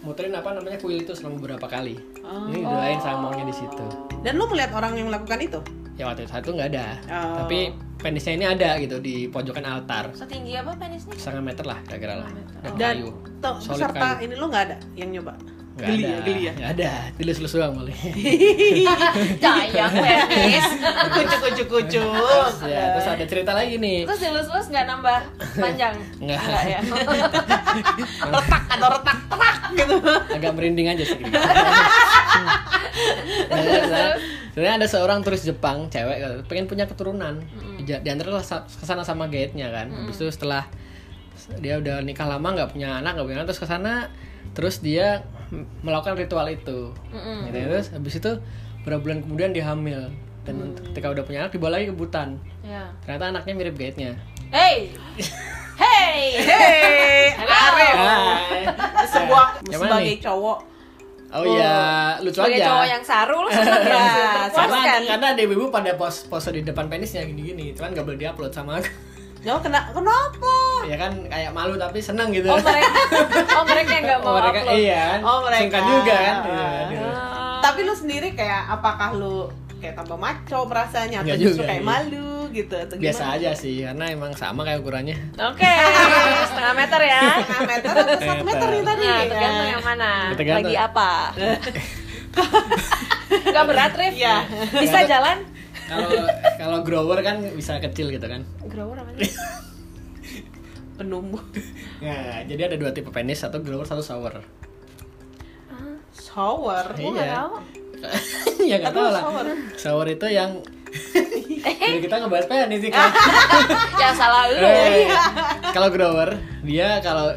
[SPEAKER 1] muterin apa namanya kuil itu selama beberapa kali ini doain sama maunya di situ
[SPEAKER 2] Dan lo melihat orang yang melakukan itu?
[SPEAKER 1] ya waktu itu satu nggak ada
[SPEAKER 2] Oh.
[SPEAKER 1] tapi penisnya ini ada gitu di pojokan altar
[SPEAKER 3] setinggi apa penisnya
[SPEAKER 1] setengah meter lah kira-kira lah Dan
[SPEAKER 2] Dan
[SPEAKER 1] kayu
[SPEAKER 2] to-
[SPEAKER 1] Solid
[SPEAKER 2] serta ini lo nggak ada yang nyoba?
[SPEAKER 1] Nggak
[SPEAKER 2] geli
[SPEAKER 1] ada,
[SPEAKER 2] ya, geli ya.
[SPEAKER 1] nggak ada dilus-lus doang boleh
[SPEAKER 3] dayang penis
[SPEAKER 2] Kucuk kucuk kucuk.
[SPEAKER 1] terus, ya, terus ada cerita lagi nih
[SPEAKER 3] terus dilus-lus nggak nambah panjang
[SPEAKER 1] Nggak.
[SPEAKER 3] Nggak ya
[SPEAKER 2] Retak atau retak terak gitu.
[SPEAKER 1] agak merinding aja sih sebenarnya ada seorang turis Jepang cewek pengen punya keturunan Dia di antara kesana sama guide-nya kan habis itu setelah dia udah nikah lama nggak punya anak nggak punya anak terus kesana terus dia m- melakukan ritual itu Gitu. terus habis itu berapa bulan kemudian dia hamil dan
[SPEAKER 3] Mm.
[SPEAKER 1] ketika udah punya anak dibawa lagi ke Butan
[SPEAKER 3] Ya.
[SPEAKER 1] ternyata anaknya mirip gaitnya
[SPEAKER 3] Hey. hey.
[SPEAKER 2] Hei, Arif. Sebuah
[SPEAKER 1] Yang mana
[SPEAKER 2] sebagai
[SPEAKER 1] Nah, nih?
[SPEAKER 2] cowok.
[SPEAKER 1] oh iya lucu
[SPEAKER 3] Sebagai
[SPEAKER 1] aja
[SPEAKER 3] cowok yang saru lu seneng ya. Puas
[SPEAKER 1] karena,
[SPEAKER 3] kan?
[SPEAKER 1] karena ada ibu pada pos pose di depan penisnya gini-gini cuman gak boleh diupload sama aku
[SPEAKER 2] Nyo kena kenapa?
[SPEAKER 1] ya kan kayak malu tapi seneng gitu
[SPEAKER 3] Oh mereka, oh mereka yang nggak mau
[SPEAKER 1] Oh, mereka
[SPEAKER 3] upload.
[SPEAKER 1] iya kan
[SPEAKER 2] Oh, mereka.
[SPEAKER 1] sungkan juga kan Iya, aduh.
[SPEAKER 3] Ah.
[SPEAKER 2] Tapi lu sendiri kayak apakah lu kayak tambah maco merasanya atau
[SPEAKER 1] Nggak
[SPEAKER 2] justru
[SPEAKER 1] juga,
[SPEAKER 2] kayak
[SPEAKER 1] iya.
[SPEAKER 2] malu gitu atau gimana?
[SPEAKER 1] biasa aja sih karena emang sama kayak ukurannya
[SPEAKER 3] Oke, setengah meter ya.
[SPEAKER 2] Setengah Nah, meter atau satu meter nih tadi.
[SPEAKER 3] Nah, tergantung yang mana.
[SPEAKER 1] Tergantung.
[SPEAKER 3] Lagi apa? Gak berat, Rif.
[SPEAKER 2] Iya.
[SPEAKER 3] Bisa jalan?
[SPEAKER 1] kalau kalau grower kan bisa kecil gitu kan
[SPEAKER 3] Grower apa sih?
[SPEAKER 2] penumbuh.
[SPEAKER 1] nah jadi ada dua tipe penis satu grower satu sour
[SPEAKER 2] Shower.
[SPEAKER 1] Iya,
[SPEAKER 3] Gua nggak tahu.
[SPEAKER 1] ya nggak
[SPEAKER 2] Aduh,
[SPEAKER 1] tahu lah
[SPEAKER 2] shower.
[SPEAKER 1] sour itu yang Jadi kita ngebahas penis sih
[SPEAKER 3] Ah.
[SPEAKER 1] kan
[SPEAKER 3] Ya salah lu.
[SPEAKER 1] Eh, kalau grower dia kalau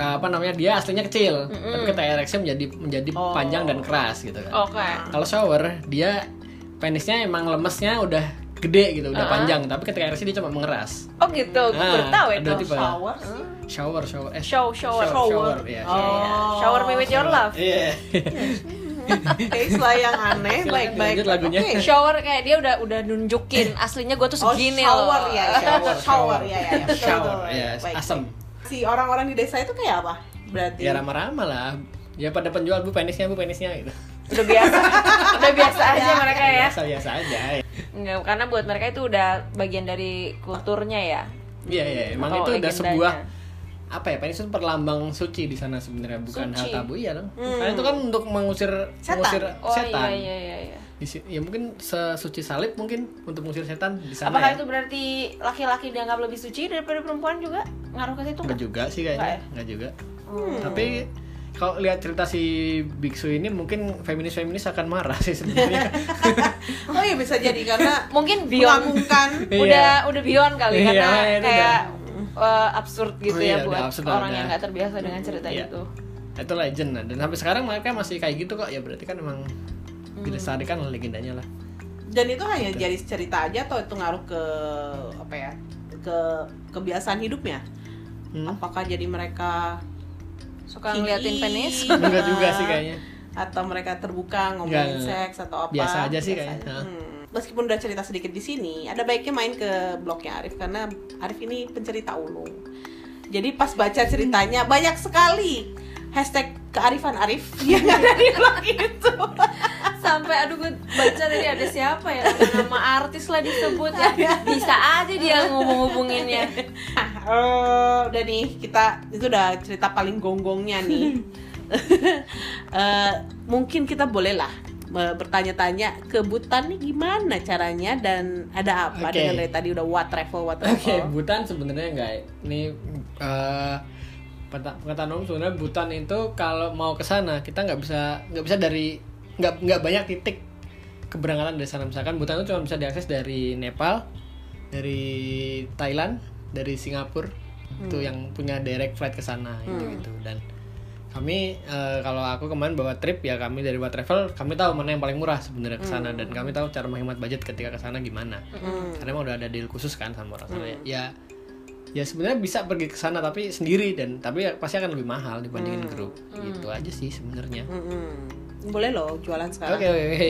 [SPEAKER 1] eh, apa namanya dia aslinya kecil tapi ketika ereksi menjadi menjadi
[SPEAKER 2] Oh.
[SPEAKER 1] panjang dan keras gitu kan
[SPEAKER 3] Oke.
[SPEAKER 1] kalau shower dia penisnya emang lemesnya udah gede gitu
[SPEAKER 3] Ah.
[SPEAKER 1] udah panjang tapi ketika ereksi dia cuma mengeras
[SPEAKER 3] Oh gitu, gue
[SPEAKER 1] Nah,
[SPEAKER 3] baru tahu
[SPEAKER 1] ada
[SPEAKER 3] itu.
[SPEAKER 1] tipe.
[SPEAKER 2] Shower sih.
[SPEAKER 1] shower shower eh,
[SPEAKER 3] Show, shower.
[SPEAKER 1] shower, iya, shower.
[SPEAKER 3] Iya. Shower me with your love.
[SPEAKER 1] Iya.
[SPEAKER 2] Case lah yang aneh,
[SPEAKER 1] Silakan
[SPEAKER 2] baik-baik.
[SPEAKER 1] lanjut lagunya.
[SPEAKER 2] Oke.
[SPEAKER 3] Eh, Shower kayak dia udah udah nunjukin aslinya gue tuh
[SPEAKER 2] Oh,
[SPEAKER 3] segini
[SPEAKER 2] shower
[SPEAKER 3] loh.
[SPEAKER 2] ya, shower, shower ya, ya, ya. Betul,
[SPEAKER 1] shower
[SPEAKER 2] betul.
[SPEAKER 1] ya
[SPEAKER 2] Baik.
[SPEAKER 1] asem
[SPEAKER 2] Si orang-orang di desa itu kayak apa? Berarti
[SPEAKER 1] ya ramah-ramah lah ya pada penjual bu penisnya bu penisnya gitu
[SPEAKER 3] Udah biasa. udah biasa aja mereka ya.
[SPEAKER 1] biasa biasa aja iya.
[SPEAKER 3] Enggak, karena buat mereka itu udah bagian dari kulturnya ya.
[SPEAKER 1] Iya, iya, emang
[SPEAKER 3] Atau
[SPEAKER 1] itu udah
[SPEAKER 3] legendanya.
[SPEAKER 1] sebuah apa ya? Penis itu perlambang suci di sana sebenarnya, bukan hal
[SPEAKER 3] Suci. Hmm.
[SPEAKER 1] tabu iya dong. Karena itu kan untuk mengusir
[SPEAKER 2] Setan.
[SPEAKER 1] mengusir
[SPEAKER 3] Oh
[SPEAKER 1] setan.
[SPEAKER 3] iya iya iya. iya.
[SPEAKER 1] Di si- ya mungkin sesuci salib mungkin untuk mengusir setan di sana.
[SPEAKER 3] Apakah
[SPEAKER 1] ya.
[SPEAKER 3] itu berarti laki-laki dianggap lebih suci daripada perempuan juga? Ngaruh ke situ
[SPEAKER 1] Nggak
[SPEAKER 3] nggak?
[SPEAKER 1] juga sih kayaknya,
[SPEAKER 3] Nggak ya?
[SPEAKER 1] nggak juga. Tapi kalau lihat cerita si biksu ini mungkin feminis-feminis akan marah sih sebenarnya.
[SPEAKER 2] Oh iya bisa jadi karena
[SPEAKER 3] Mungkin beyond
[SPEAKER 2] mengagungkan
[SPEAKER 1] Iya.
[SPEAKER 3] udah udah beyond kali
[SPEAKER 1] Iya,
[SPEAKER 3] karena
[SPEAKER 1] itu
[SPEAKER 3] kayak eh, absurd gitu
[SPEAKER 1] Iya,
[SPEAKER 3] ya
[SPEAKER 1] udah
[SPEAKER 3] buat
[SPEAKER 1] absurd,
[SPEAKER 3] orang
[SPEAKER 1] udah.
[SPEAKER 3] yang nggak terbiasa dengan cerita
[SPEAKER 1] Iya.
[SPEAKER 3] itu.
[SPEAKER 1] itu legend nah. dan sampai sekarang mereka masih kayak gitu kok. Ya berarti kan emang
[SPEAKER 3] Hmm.
[SPEAKER 1] dilestarikan lah legendanya lah.
[SPEAKER 2] dan itu hanya jadi cerita aja atau itu ngaruh ke apa ya? ke kebiasaan hidupnya.
[SPEAKER 1] Hmm.
[SPEAKER 2] Apakah jadi mereka
[SPEAKER 3] Suka ngeliatin
[SPEAKER 2] Ih,
[SPEAKER 3] penis.
[SPEAKER 1] Enggak juga sih kayaknya.
[SPEAKER 2] atau mereka terbuka ngomongin
[SPEAKER 1] Nggak,
[SPEAKER 2] seks atau apa
[SPEAKER 1] Ya, Biasa aja sih kayaknya. Hah.
[SPEAKER 2] Hmm. meskipun udah cerita sedikit di sini ada baiknya main ke blognya Arif karena Arif ini pencerita ulung jadi pas baca ceritanya banyak sekali hashtag kearifan Arif yang ada di blog itu
[SPEAKER 3] sampai aduh gue baca tadi ada siapa ya nama artis lah disebut ya bisa aja dia ngomong hubunginnya
[SPEAKER 2] Nah, eh, udah nih kita itu udah cerita paling gonggongnya nih Eh, mungkin kita bolehlah eh, bertanya-tanya ke Butan nih gimana caranya dan ada apa
[SPEAKER 1] Oke.
[SPEAKER 2] dengan dari tadi udah what travel what travel
[SPEAKER 1] Oke, Butan sebenarnya enggak. Ini eh peta- perkataan umum sebenarnya Butan itu kalau mau ke sana kita nggak bisa nggak bisa dari nggak nggak banyak titik keberangkatan dari sana. Misalkan Butan itu cuma bisa diakses dari Nepal, dari Thailand, dari Singapura itu yang punya direct flight ke sana gitu dan kami eh, kalau aku kemarin bawa trip ya kami dari Buat Travel kami tahu mana yang paling murah sebenarnya ke sana dan kami tahu cara menghemat budget ketika ke sana gimana
[SPEAKER 2] Hmm.
[SPEAKER 1] karena emang udah ada deal khusus kan sama orang sana ya ya sebenarnya bisa pergi ke sana tapi sendiri dan tapi ya pasti akan lebih mahal dibandingin grup gitu aja sih sebenarnya
[SPEAKER 2] Hmm. Mm-mm. Boleh loh jualan
[SPEAKER 1] oke
[SPEAKER 2] sekarang.
[SPEAKER 1] oke oke.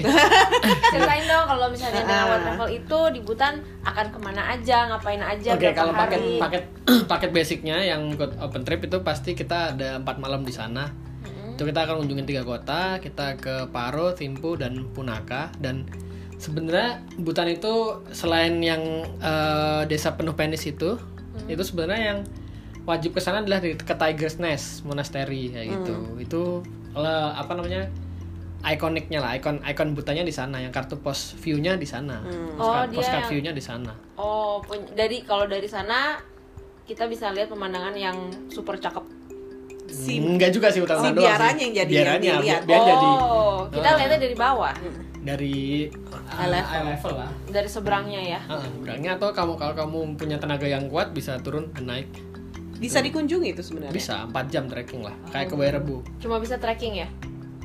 [SPEAKER 3] ceritain dong kalau misalnya dengan
[SPEAKER 2] Ah.
[SPEAKER 3] World Travel itu di Butan akan kemana aja ngapain aja
[SPEAKER 1] oke
[SPEAKER 3] berapa
[SPEAKER 1] kalau paket
[SPEAKER 3] hari
[SPEAKER 1] paket paket basicnya yang ikut open trip itu pasti kita ada empat malam di sana
[SPEAKER 3] Mm-hmm.
[SPEAKER 1] itu kita akan kunjungin tiga kota kita ke Paro Thimphu dan Punaka dan sebenarnya Butan itu selain yang eh, desa penuh penis itu
[SPEAKER 3] Mm-hmm.
[SPEAKER 1] itu sebenarnya yang wajib ke sana adalah di ke Tiger's Nest Monastery kayak gitu
[SPEAKER 3] Mm-hmm.
[SPEAKER 1] itu eh, apa namanya ikoniknya lah ikon ikon butanya di sana yang kartu pos view-nya di sana
[SPEAKER 3] Oh, dia
[SPEAKER 1] postcard
[SPEAKER 3] yang-
[SPEAKER 1] view-nya di sana
[SPEAKER 3] oh pun- dari kalau dari sana kita bisa lihat pemandangan yang super cakep
[SPEAKER 2] Si
[SPEAKER 1] Enggak Hmm, juga sih utang
[SPEAKER 2] si
[SPEAKER 1] doang
[SPEAKER 2] biaranya
[SPEAKER 1] sih.
[SPEAKER 2] yang jadi-
[SPEAKER 1] biaranya,
[SPEAKER 2] yang dilihat.
[SPEAKER 1] biar
[SPEAKER 3] oh
[SPEAKER 1] jadi
[SPEAKER 3] kita
[SPEAKER 1] Ah.
[SPEAKER 3] lihatnya dari bawah
[SPEAKER 1] dari
[SPEAKER 2] Eye
[SPEAKER 1] uh,
[SPEAKER 2] level.
[SPEAKER 1] eye level lah.
[SPEAKER 3] dari seberangnya ya
[SPEAKER 1] Ah, berangnya atau kamu kalau kamu punya tenaga yang kuat bisa turun dan naik.
[SPEAKER 2] bisa dikunjungi itu sebenarnya.
[SPEAKER 1] Bisa 4 jam trekking lah. Kayak ke Wairebo.
[SPEAKER 3] cuma bisa trekking ya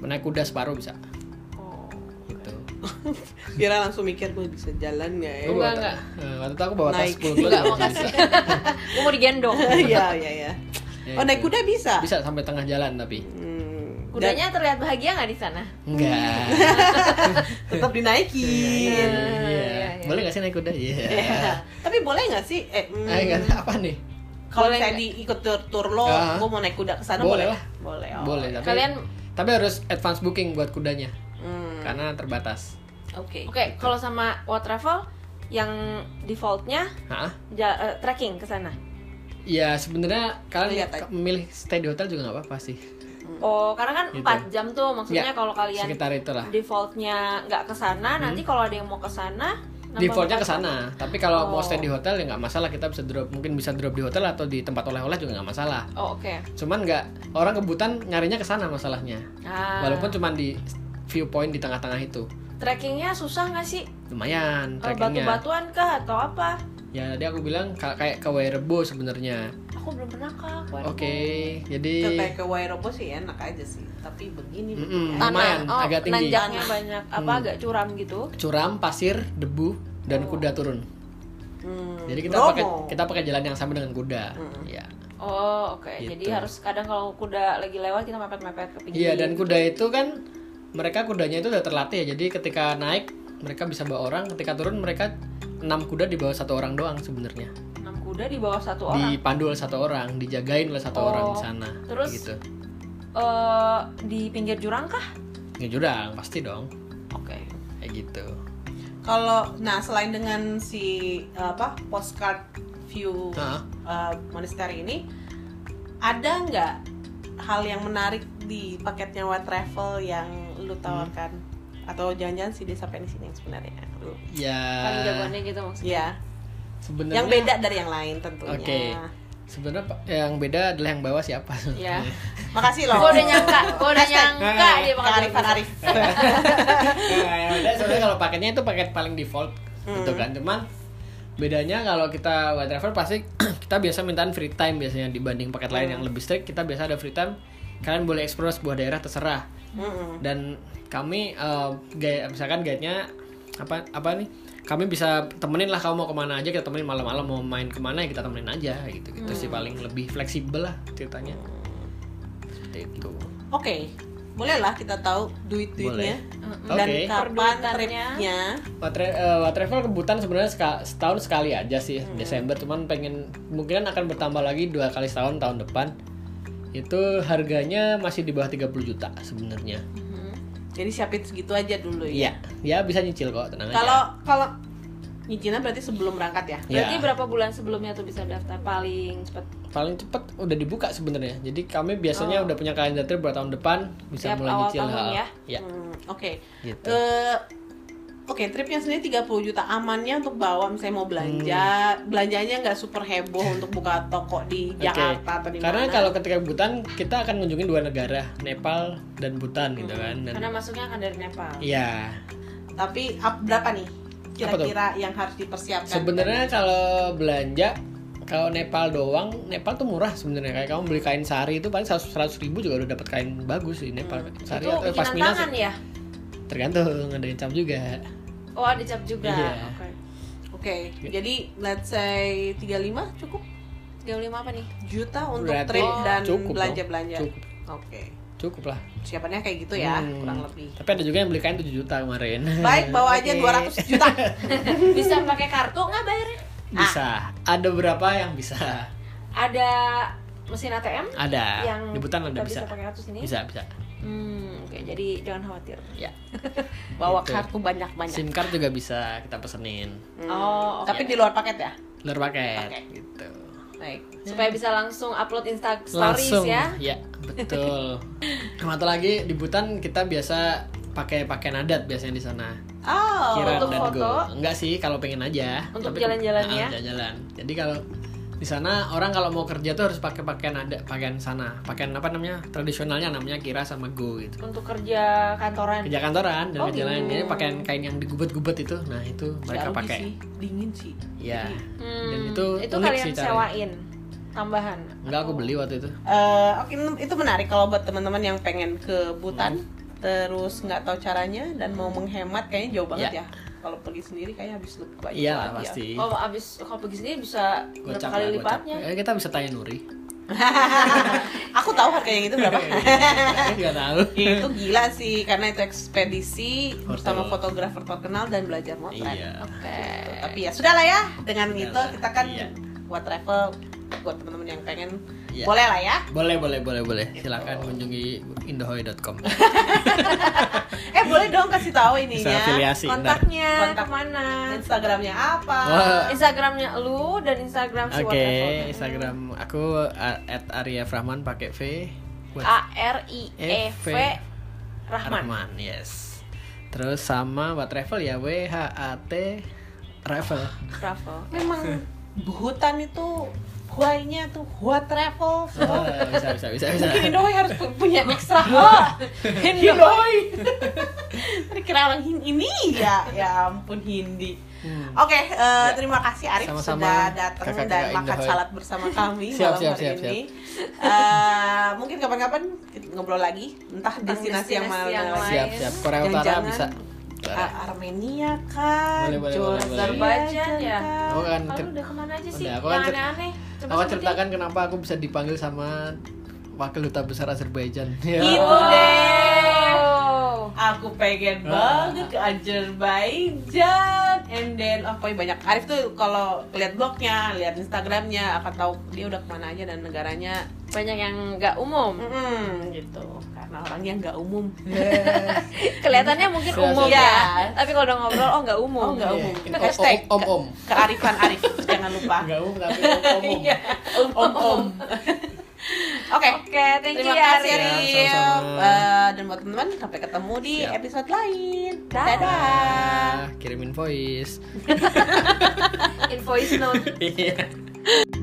[SPEAKER 1] Naik kuda separuh bisa
[SPEAKER 3] oh
[SPEAKER 1] gitu.
[SPEAKER 2] Vira langsung mikir gue bisa jalan nggak ya?
[SPEAKER 1] Gua bawa
[SPEAKER 4] Enggak,
[SPEAKER 1] ta-
[SPEAKER 4] enggak.
[SPEAKER 1] eh, waktu itu aku bawa tas
[SPEAKER 2] Naik.
[SPEAKER 1] 10 kilo
[SPEAKER 4] Enggak,
[SPEAKER 1] juga masih
[SPEAKER 4] makasih.
[SPEAKER 1] bisa.
[SPEAKER 3] Gue mau digendong.
[SPEAKER 2] Iya iya iya.
[SPEAKER 1] Ya,
[SPEAKER 2] Oh naik
[SPEAKER 1] itu.
[SPEAKER 2] kuda bisa?
[SPEAKER 1] Bisa sampai tengah jalan tapi.
[SPEAKER 2] Hmm,
[SPEAKER 4] Kudanya terlihat bahagia nggak di sana?
[SPEAKER 1] Enggak.
[SPEAKER 2] dan tetap dinaikin.
[SPEAKER 1] Iya.
[SPEAKER 4] iya, iya.
[SPEAKER 1] Boleh gak sih naik kuda? Iya.
[SPEAKER 2] Tapi boleh nggak sih? Eh, hmm,
[SPEAKER 1] Eh, nggak tahu apa nih?
[SPEAKER 2] kalau
[SPEAKER 4] Boleh
[SPEAKER 2] saya
[SPEAKER 4] nggak?
[SPEAKER 2] diikut tur tur lo,
[SPEAKER 1] Ah.
[SPEAKER 2] gue mau naik kuda ke sana
[SPEAKER 1] Boleh
[SPEAKER 2] boleh?
[SPEAKER 1] lah.
[SPEAKER 2] Boleh. oh.
[SPEAKER 1] Boleh tapi
[SPEAKER 4] Kalian
[SPEAKER 1] tapi harus advance booking buat kudanya
[SPEAKER 2] Hmm,
[SPEAKER 1] karena terbatas.
[SPEAKER 2] Oke.
[SPEAKER 3] Oke, kalau sama What Travel yang defaultnya
[SPEAKER 1] Hah?
[SPEAKER 3] ja- eh, trekking ke sana.
[SPEAKER 1] Ya sebenarnya kalian
[SPEAKER 2] Lihat aja.
[SPEAKER 1] memilih stay di hotel juga nggak apa-apa sih.
[SPEAKER 3] Oh, karena kan
[SPEAKER 1] Gitu.
[SPEAKER 3] 4 jam tuh maksudnya
[SPEAKER 1] Ya,
[SPEAKER 3] kalau kalian
[SPEAKER 1] Sekitar itulah.
[SPEAKER 3] defaultnya nggak ke sana, nanti kalau ada yang mau ke sana nambah
[SPEAKER 1] Defaultnya ke
[SPEAKER 3] empat jam.
[SPEAKER 1] sana, tapi kalau
[SPEAKER 3] Oh.
[SPEAKER 1] mau stay di hotel ya nggak masalah kita bisa drop, mungkin bisa drop di hotel atau di tempat oleh-oleh juga nggak masalah.
[SPEAKER 3] Oh, oke.
[SPEAKER 1] Cuman nggak orang kebutan nyarinya ke sana masalahnya,
[SPEAKER 3] Ah,
[SPEAKER 1] walaupun cuman di viewpoint di tengah-tengah itu
[SPEAKER 3] trekkingnya susah nggak sih? Eh,
[SPEAKER 1] lumayan trekkingnya.
[SPEAKER 3] Batu-batuan kah atau apa?
[SPEAKER 1] Ya tadi aku bilang ka- kayak ke Wairebo sebenarnya.
[SPEAKER 3] Aku belum pernah kah. aku ada-
[SPEAKER 1] Oke, jadi
[SPEAKER 2] Ke- Kayak ke Wairobo sih enak aja sih, tapi begini
[SPEAKER 1] Mm-mm.
[SPEAKER 2] ya.
[SPEAKER 1] Lumayan,
[SPEAKER 3] Tanah, oh,
[SPEAKER 1] agak tinggi.
[SPEAKER 3] nanjaknya banyak apa
[SPEAKER 1] Hmm.
[SPEAKER 3] agak curam gitu.
[SPEAKER 1] curam, pasir, debu, dan
[SPEAKER 3] Oh.
[SPEAKER 1] kuda turun.
[SPEAKER 2] Hmm,
[SPEAKER 1] Jadi kita
[SPEAKER 2] Bromo.
[SPEAKER 1] pakai kita pakai jalan yang sama dengan kuda.
[SPEAKER 3] Hmm.
[SPEAKER 2] Mm.
[SPEAKER 1] Ya.
[SPEAKER 3] Oh, oke.
[SPEAKER 1] Gitu.
[SPEAKER 3] Jadi harus kadang kalau kuda lagi lewat kita mepet-mepet ke pinggir.
[SPEAKER 1] Iya, dan kuda itu kan mereka kudanya itu udah terlatih ya. Jadi ketika naik mereka bisa bawa orang, ketika turun mereka enam kuda di bawah satu orang doang sebenarnya.
[SPEAKER 3] enam kuda di bawah satu orang.
[SPEAKER 1] Dipandu oleh satu orang, dijagain oleh satu
[SPEAKER 3] Oh.
[SPEAKER 1] orang di sana.
[SPEAKER 3] Terus?
[SPEAKER 1] gitu.
[SPEAKER 3] Eh, di pinggir jurang kah?
[SPEAKER 1] Ya jurang pasti dong.
[SPEAKER 3] Oke.
[SPEAKER 1] Kayak gitu.
[SPEAKER 2] Kalau nah selain dengan si apa postcard view
[SPEAKER 1] Hah?
[SPEAKER 2] uh, monastery ini ada nggak hal yang menarik di paketnya What Travel yang lu tawarkan
[SPEAKER 1] Hmm.
[SPEAKER 2] atau jangan-jangan sih dia sampai di sini yang sebenarnya lu
[SPEAKER 1] Ya.
[SPEAKER 3] Paling jagoannya gitu maksudnya.
[SPEAKER 2] ya
[SPEAKER 1] Sebenarnya
[SPEAKER 2] yang beda dari yang lain tentunya
[SPEAKER 1] Oke. Sebenarnya pa- yang beda adalah yang bawah siapa?
[SPEAKER 3] Iya.
[SPEAKER 2] makasih loh
[SPEAKER 4] Gua udah nyangka, gua udah nyangka
[SPEAKER 1] Eh,
[SPEAKER 4] dia bakal
[SPEAKER 2] Arif
[SPEAKER 4] kayak
[SPEAKER 2] Arif
[SPEAKER 1] Nah, yang beda sebenarnya kalau paketnya itu paket paling default gitu kan cuman bedanya kalau kita white travel pasti kita biasa mintaan free time biasanya dibanding paket lain yang lebih strict kita biasa ada free time kalian boleh explore sebuah daerah terserah
[SPEAKER 2] Mm-mm.
[SPEAKER 1] dan kami eh, gaya- misalkan guide-nya apa apa nih kami bisa temenin lah kamu mau kemana aja kita temenin malam-malam mau main kemana ya kita temenin aja gitu gitu sih paling lebih fleksibel lah ceritanya seperti itu
[SPEAKER 2] oke bolehlah kita tahu duit-duitnya
[SPEAKER 1] oke
[SPEAKER 2] dan kapan
[SPEAKER 3] Perduitannya.
[SPEAKER 2] tripnya
[SPEAKER 1] Watre, eh, Watrevel kebutuhan sebenarnya seka- setahun sekali aja sih
[SPEAKER 2] Hmm.
[SPEAKER 1] Desember cuman pengen mungkin akan bertambah lagi dua kali setahun tahun depan itu harganya masih di bawah 30 juta sebenarnya
[SPEAKER 2] jadi siapin segitu aja dulu ya
[SPEAKER 1] iya ya bisa nyicil kok tenang aja
[SPEAKER 2] kalau kalau nyicilan berarti sebelum berangkat ya
[SPEAKER 1] ya,
[SPEAKER 3] Berarti berapa bulan sebelumnya tuh bisa daftar paling cepet?
[SPEAKER 1] paling cepet udah dibuka sebenarnya jadi kami biasanya
[SPEAKER 2] Oh.
[SPEAKER 1] udah punya kalender trip buat tahun depan bisa
[SPEAKER 3] Tiap
[SPEAKER 1] mulai
[SPEAKER 3] awal
[SPEAKER 1] nyicil
[SPEAKER 3] tahun
[SPEAKER 1] ha.
[SPEAKER 3] ya.
[SPEAKER 1] Iya,
[SPEAKER 2] Hmm, oke
[SPEAKER 1] gitu
[SPEAKER 2] Eh, Oke, tripnya sendiri 30 juta amannya untuk bawa misalnya mau belanja, belanjanya nggak super heboh untuk buka toko di
[SPEAKER 1] Hmm. Oke.
[SPEAKER 2] Jakarta atau di
[SPEAKER 1] karena
[SPEAKER 2] mana.
[SPEAKER 1] kalau ketika Butan kita akan ngunjungin dua negara Nepal dan Butan
[SPEAKER 2] Hmm.
[SPEAKER 1] gitu kan Dan-
[SPEAKER 3] Karena masuknya akan dari Nepal.
[SPEAKER 1] iya
[SPEAKER 2] tapi up berapa nih
[SPEAKER 1] Apa tuh?
[SPEAKER 2] kira-kira yang harus dipersiapkan?
[SPEAKER 1] Sebenarnya kalau belanja kalau Nepal doang, Nepal tuh murah sebenarnya. Kayak kamu beli kain sari itu paling 100 100 ribu juga udah dapat kain bagus di
[SPEAKER 2] Hmm,
[SPEAKER 1] Nepal. Sari
[SPEAKER 3] itu
[SPEAKER 1] atau
[SPEAKER 3] bikinan
[SPEAKER 1] pasmina
[SPEAKER 3] tangan ya?
[SPEAKER 1] tergantung ada yang cap juga.
[SPEAKER 3] Oh, ada cap juga.
[SPEAKER 1] Iya.
[SPEAKER 3] Oke.
[SPEAKER 2] Oke, jadi let's say 35 cukup
[SPEAKER 3] 35 apa nih?
[SPEAKER 2] juta untuk
[SPEAKER 1] Berarti
[SPEAKER 2] trip dan
[SPEAKER 1] cukup dong.
[SPEAKER 2] belanja-belanja.
[SPEAKER 1] Cukup,
[SPEAKER 2] Oke.
[SPEAKER 1] cukup lah.
[SPEAKER 2] Siapannya kayak gitu ya,
[SPEAKER 1] Hmm.
[SPEAKER 2] kurang lebih.
[SPEAKER 1] Tapi ada juga yang beli kain 7 juta kemarin.
[SPEAKER 2] Baik, bawa aja
[SPEAKER 1] Oke.
[SPEAKER 2] 200 juta.
[SPEAKER 3] Bisa pakai kartu nggak bayarnya?
[SPEAKER 1] Bisa. Ada berapa yang bisa?
[SPEAKER 3] Ada mesin ATM
[SPEAKER 1] Ada.
[SPEAKER 3] yang
[SPEAKER 1] Di Butan ada
[SPEAKER 3] kita
[SPEAKER 1] Ah, bisa.
[SPEAKER 3] pakai kartu sini.
[SPEAKER 1] Bisa, bisa.
[SPEAKER 3] Hmm, oke. Jadi jangan khawatir.
[SPEAKER 1] Ya.
[SPEAKER 2] Bawa
[SPEAKER 1] Gitu.
[SPEAKER 2] kartu banyak-banyak.
[SPEAKER 1] SIM card juga bisa kita pesenin.
[SPEAKER 2] Hmm.
[SPEAKER 3] Oh, oke.
[SPEAKER 2] Tapi di luar paket ya?
[SPEAKER 1] Luar paket
[SPEAKER 2] Pakai.
[SPEAKER 1] gitu.
[SPEAKER 2] Baik.
[SPEAKER 3] supaya bisa langsung upload Insta stories
[SPEAKER 1] langsung
[SPEAKER 3] ya.
[SPEAKER 1] betul sama satu lagi di Butan kita biasa pakai pakaian adat biasanya di sana
[SPEAKER 2] Oh.
[SPEAKER 1] Kirab
[SPEAKER 3] untuk
[SPEAKER 1] dan
[SPEAKER 3] foto?
[SPEAKER 1] go enggak sih kalau pengen aja
[SPEAKER 3] Untuk
[SPEAKER 1] Tapi-
[SPEAKER 3] jalan-jalan
[SPEAKER 1] Ah,
[SPEAKER 3] ya?
[SPEAKER 1] jalan-jalan jadi kalau di sana orang kalau mau kerja tuh harus pakai pakaian adat pakaian sana pakaian apa namanya tradisionalnya namanya kira sama go gitu
[SPEAKER 3] Untuk kerja kantoran.
[SPEAKER 1] kerja kantoran dan
[SPEAKER 3] Oh,
[SPEAKER 1] jalan
[SPEAKER 3] gitu.
[SPEAKER 1] jadi pakaian kain yang digubet-gubet itu nah itu mereka
[SPEAKER 2] Nggak rugi
[SPEAKER 1] pakai
[SPEAKER 2] sih, dingin sih
[SPEAKER 1] ya
[SPEAKER 3] Hmm,
[SPEAKER 1] Dan itu unik
[SPEAKER 3] kalian
[SPEAKER 1] sih caranya.
[SPEAKER 3] sewain tambahan.
[SPEAKER 1] enggak aku beli waktu itu
[SPEAKER 2] Eh, oke itu menarik kalau buat teman-teman yang pengen ke Butan terus nggak tahu caranya dan mau menghemat kayaknya jauh banget
[SPEAKER 1] Iya.
[SPEAKER 2] ya. Kalau pergi sendiri kayaknya habis lu banyak banget
[SPEAKER 1] Iya lah,
[SPEAKER 2] ya.
[SPEAKER 1] pasti.
[SPEAKER 3] Oh, abis kalau pergi sendiri bisa berapa
[SPEAKER 1] Gocap
[SPEAKER 3] kali
[SPEAKER 1] lah, gocap.
[SPEAKER 3] lipatnya?
[SPEAKER 1] Eh, kita bisa tanya Nuri.
[SPEAKER 2] Aku tahu harga yang itu
[SPEAKER 1] Iya,
[SPEAKER 2] berapa.
[SPEAKER 1] Enggak tahu.
[SPEAKER 2] itu gila sih karena itu ekspedisi
[SPEAKER 1] iya. Hotel.
[SPEAKER 2] bersama fotografer terkenal dan belajar motret.
[SPEAKER 1] Iya.
[SPEAKER 4] Oke.
[SPEAKER 2] Tapi ya sudahlah ya dengan
[SPEAKER 1] Sudahlah,
[SPEAKER 2] itu kita kan
[SPEAKER 1] iya.
[SPEAKER 2] buat travel buat teman-teman yang pengen
[SPEAKER 1] Iya.
[SPEAKER 2] boleh lah ya.
[SPEAKER 1] Boleh, boleh, boleh, boleh. Silakan kunjungi indohoy.com.
[SPEAKER 3] Ah,
[SPEAKER 2] Eh boleh dong kasih tahu
[SPEAKER 1] Bisa
[SPEAKER 2] ininya.
[SPEAKER 1] afiliasi. ntar.
[SPEAKER 3] Kontaknya
[SPEAKER 2] Kontak.
[SPEAKER 3] kemana?
[SPEAKER 1] Nah.
[SPEAKER 2] Instagramnya apa?
[SPEAKER 1] Wah.
[SPEAKER 3] Instagramnya lu dan Instagram si
[SPEAKER 1] Oke,
[SPEAKER 3] Waterfall.
[SPEAKER 1] Instagram aku at Arya Frahman pakai V. Buat
[SPEAKER 3] A R I E V Rahman.
[SPEAKER 1] Rahman, yes. Terus sama buat travel ya W H A T travel.
[SPEAKER 3] Bravo.
[SPEAKER 2] Memang hutan itu huainya tuh hua travel.
[SPEAKER 1] Oh, bisa bisa bisa bisa.
[SPEAKER 2] Mungkin Indohoy harus pu- punya ekstra oh, Indohoy Tadi kira orang Hin- ini ya Ya ampun Hindi
[SPEAKER 1] Hmm.
[SPEAKER 3] Oh,
[SPEAKER 2] Oke, eh, terima kasih Arif sudah
[SPEAKER 1] Sama-sama,
[SPEAKER 2] datang
[SPEAKER 1] kakak-kakak
[SPEAKER 2] dan makan
[SPEAKER 1] Indohoy.
[SPEAKER 2] salad bersama kami
[SPEAKER 1] Siap,
[SPEAKER 2] malam
[SPEAKER 1] siap,
[SPEAKER 2] hari
[SPEAKER 1] siap,
[SPEAKER 2] ini. Eh, mungkin kapan-kapan kita ngobrol lagi, entah
[SPEAKER 3] Tentang
[SPEAKER 2] destinasi, yang mana.
[SPEAKER 3] destinasi yang lain.
[SPEAKER 1] Siap siap. Korea Utara
[SPEAKER 2] Jangan-jangan.
[SPEAKER 1] bisa.
[SPEAKER 2] Ah, Armenia kan,
[SPEAKER 1] Boleh, boleh, boleh, boleh.
[SPEAKER 3] Azerbaijan ya?
[SPEAKER 2] kan?
[SPEAKER 1] Aku kan
[SPEAKER 4] Kalau
[SPEAKER 1] cer-
[SPEAKER 4] udah kemana aja sih?
[SPEAKER 1] Udah,
[SPEAKER 4] Yang
[SPEAKER 1] aku kan cer-
[SPEAKER 4] aneh-aneh. Coba
[SPEAKER 1] aku
[SPEAKER 4] sebutin.
[SPEAKER 1] ceritakan kenapa aku bisa dipanggil sama wakil duta besar Azerbaijan. Ya.
[SPEAKER 2] Gitu deh.
[SPEAKER 3] Oh.
[SPEAKER 2] Aku pengen
[SPEAKER 1] Ah.
[SPEAKER 2] banget ke Azerbaijan and then oh pokoknya banyak Arif tuh kalau lihat blognya, lihat Instagramnya akan tahu dia udah kemana aja dan negaranya
[SPEAKER 3] Banyak yang nggak umum.
[SPEAKER 2] Mm-mm, gitu karena orangnya nggak umum
[SPEAKER 3] Kelihatannya mungkin
[SPEAKER 1] Iya,
[SPEAKER 3] umum
[SPEAKER 2] iya.
[SPEAKER 3] ya. Tapi kalau udah ngobrol oh nggak umum.
[SPEAKER 2] oh nggak
[SPEAKER 1] Iya.
[SPEAKER 2] umum
[SPEAKER 1] Om-
[SPEAKER 2] hashtag
[SPEAKER 1] om- om- om.
[SPEAKER 2] ke- kearifan Arif jangan lupa
[SPEAKER 1] Enggak umum tapi om om.
[SPEAKER 2] Iya, om om, om. oke
[SPEAKER 3] Oke, thank
[SPEAKER 2] Terima
[SPEAKER 3] you ya.
[SPEAKER 2] kasih
[SPEAKER 1] Arif.
[SPEAKER 2] Arif
[SPEAKER 1] Ya, sama-sama.
[SPEAKER 2] Eh, dan buat teman-teman sampai ketemu di
[SPEAKER 1] Siap.
[SPEAKER 2] episode lain.
[SPEAKER 3] Dah.
[SPEAKER 2] Dadah.
[SPEAKER 1] Nah, Ah, kirimin voice.
[SPEAKER 3] Invoice note.
[SPEAKER 1] Iya.